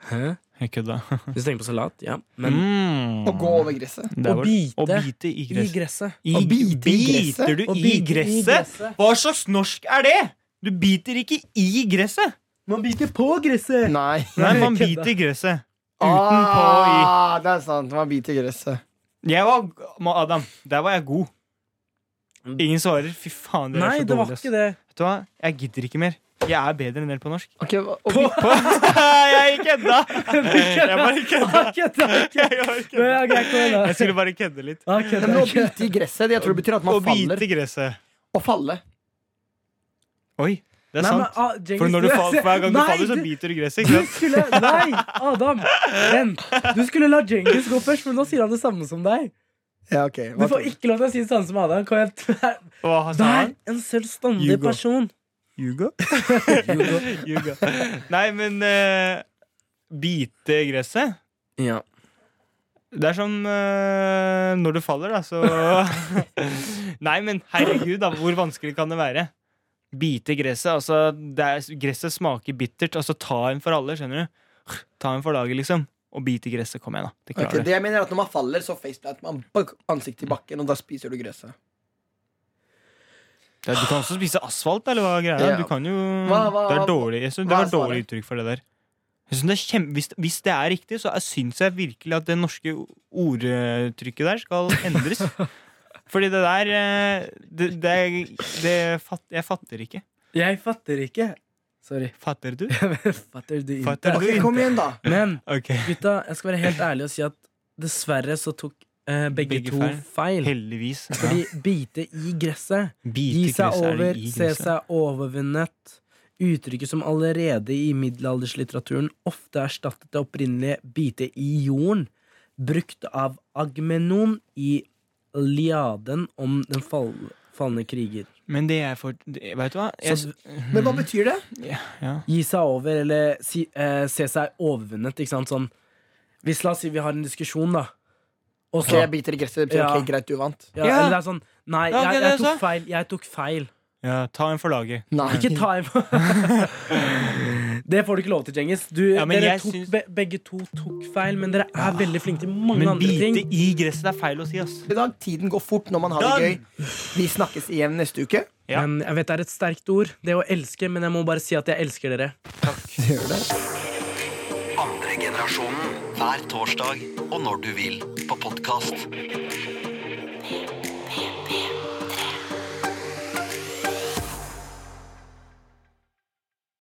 S4: Hæ?
S1: Jeg kødda.
S4: Hvis du tenker på salat, ja. Men
S1: Mm.
S2: Å gå over gresset.
S1: Der
S4: Å
S1: var det.
S4: bite
S1: Å bite i
S4: I
S1: gresset.
S4: gresset.
S1: I,
S2: Å bite i gresset?
S1: Biter du
S4: Å
S1: i
S4: bite i
S1: gresset?
S4: gresset.
S1: Hva slags norsk er det? Du biter ikke i gresset.
S4: Man biter på gresset!
S2: Nei.
S1: Nei, man
S4: kødda.
S1: biter i gresset. Utenpå i
S2: Ah, det er sant. Man biter i gresset.
S1: Jeg var Ma- Adam, der var jeg god. Ingen svarer. Fy faen, dere
S4: Nei,
S1: er så
S4: det var
S1: dårlige. ass.
S4: ikke det.
S1: Vet du hva? Jeg gidder ikke mer. Jeg er bedre enn dere på norsk.
S2: Ok, hva- og
S4: På-
S1: jeg kødda! Jeg bare kødda.
S4: Takk, takk.
S1: Jeg, bare
S4: Men
S1: kødda.
S4: jeg greier ikke å
S1: jeg skulle bare kødde litt.
S4: Ok,
S2: Men å
S4: takk.
S2: bite i gresset, det jeg tror det betyr at man
S1: Å
S2: faller.
S1: bite i gresset.
S2: Å falle.
S1: Oi, det er
S4: Nei, men,
S1: sant.
S4: ah, Djengis,
S1: For når du faller, hver gang du
S4: Nei,
S1: faller, så
S4: du-
S1: biter du i gresset.
S4: du
S1: Ikke sant?
S4: skulle, Nei, Adam! Vent. Du skulle la Djengis gå først, men nå sier han det samme som deg.
S2: Ja, ok.
S4: Du
S2: Hva
S4: får
S2: tror du?
S4: ikke lov til å si det samme som Adam. Kan jeg
S1: Hva sa
S4: Vær
S1: han?
S4: en selvstendig
S1: Hugo.
S4: person.
S1: Juga? Juga. Nei, men eh, Bite i gresset?
S4: Ja.
S1: Det er som øh, når du faller, da, så Nei, men herregud, da, hvor vanskelig kan det være? Bite gresset. Altså, det er, gresset smaker bittert. Altså, ta en for alle, skjønner du? Ta en for laget, liksom. Og bite gresset. Kom igjen, da. Det
S2: Ok,
S1: klarer
S2: det jeg mener er at Når man faller, så faceplanter man bak- ansiktet i bakken, og da spiser du gresset.
S1: du. Du kan også spise asfalt, eller hva er greia?
S2: Ja.
S1: Du kan jo
S2: Hva- hva-
S1: Det er dårlig. Jeg synes, det
S2: hva er
S1: var dårlig
S2: svaret?
S1: uttrykk for det der. Jeg synes det er kjempe, hvis, hvis det er riktig, så er- syns jeg virkelig at det norske ordtrykket der skal endres. Fordi det der eh, det, det, det, fatt, Jeg fatter ikke.
S4: Jeg fatter ikke. Sorry.
S1: Fatter du?
S4: fatter du ikke?
S1: Fatter du
S2: Mm. Ok,
S1: ikke?
S2: kom igjen, da.
S4: Men
S1: Ok.
S4: gutta, jeg skal være helt ærlig og si at dessverre så tok eh, begge,
S1: Begge
S4: to
S1: feil.
S4: feil.
S1: Heldigvis.
S4: Fordi bite i gresset,
S1: Bite
S4: gi seg
S1: gresset er det
S4: over,
S1: i
S4: se
S1: gresset.
S4: seg overvunnet. Uttrykket som allerede i middelalderslitteraturen ofte erstattet det opprinnelige bite i jorden, brukt av Agmenon i Liaden om den fall, falne kriger.
S1: Men det er for det- Vet du hva? Jeg,
S4: Så
S2: Men hva betyr det?
S1: ja.
S4: gi seg over, eller si, eh, se seg overvunnet, ikke sant? Sånn, hvis la oss si vi har en diskusjon, da. Og
S2: Ok,
S4: så
S2: jeg biter i gresset. Det betyr
S4: Ja.
S2: ok, greit, du vant.
S4: ja,
S1: Ja.
S4: Eller det er sånn Nei,
S1: Ja,
S4: jeg,
S1: ok,
S4: jeg
S1: det
S4: tok
S1: så.
S4: feil. Jeg tok feil.
S1: ja, ta en for laget.
S2: Nei.
S4: Ikke ta Det får du ikke lov til, Djengis. Du,
S1: Ja, men
S4: dere
S1: jeg
S4: tok,
S1: syns-
S4: be, begge to tok feil, men dere er veldig flinke til mange
S1: Men
S4: andre
S1: bite
S4: ting.
S1: i gresset det er feil å si, ass.
S2: I dag, Tiden går fort når man har det gøy. Vi snakkes igjen neste uke.
S1: Ja.
S4: Men jeg vet det er et sterkt ord, det å elske, men jeg må bare si at jeg elsker dere.
S8: Andre generasjonen hver torsdag og når du vil på podkast.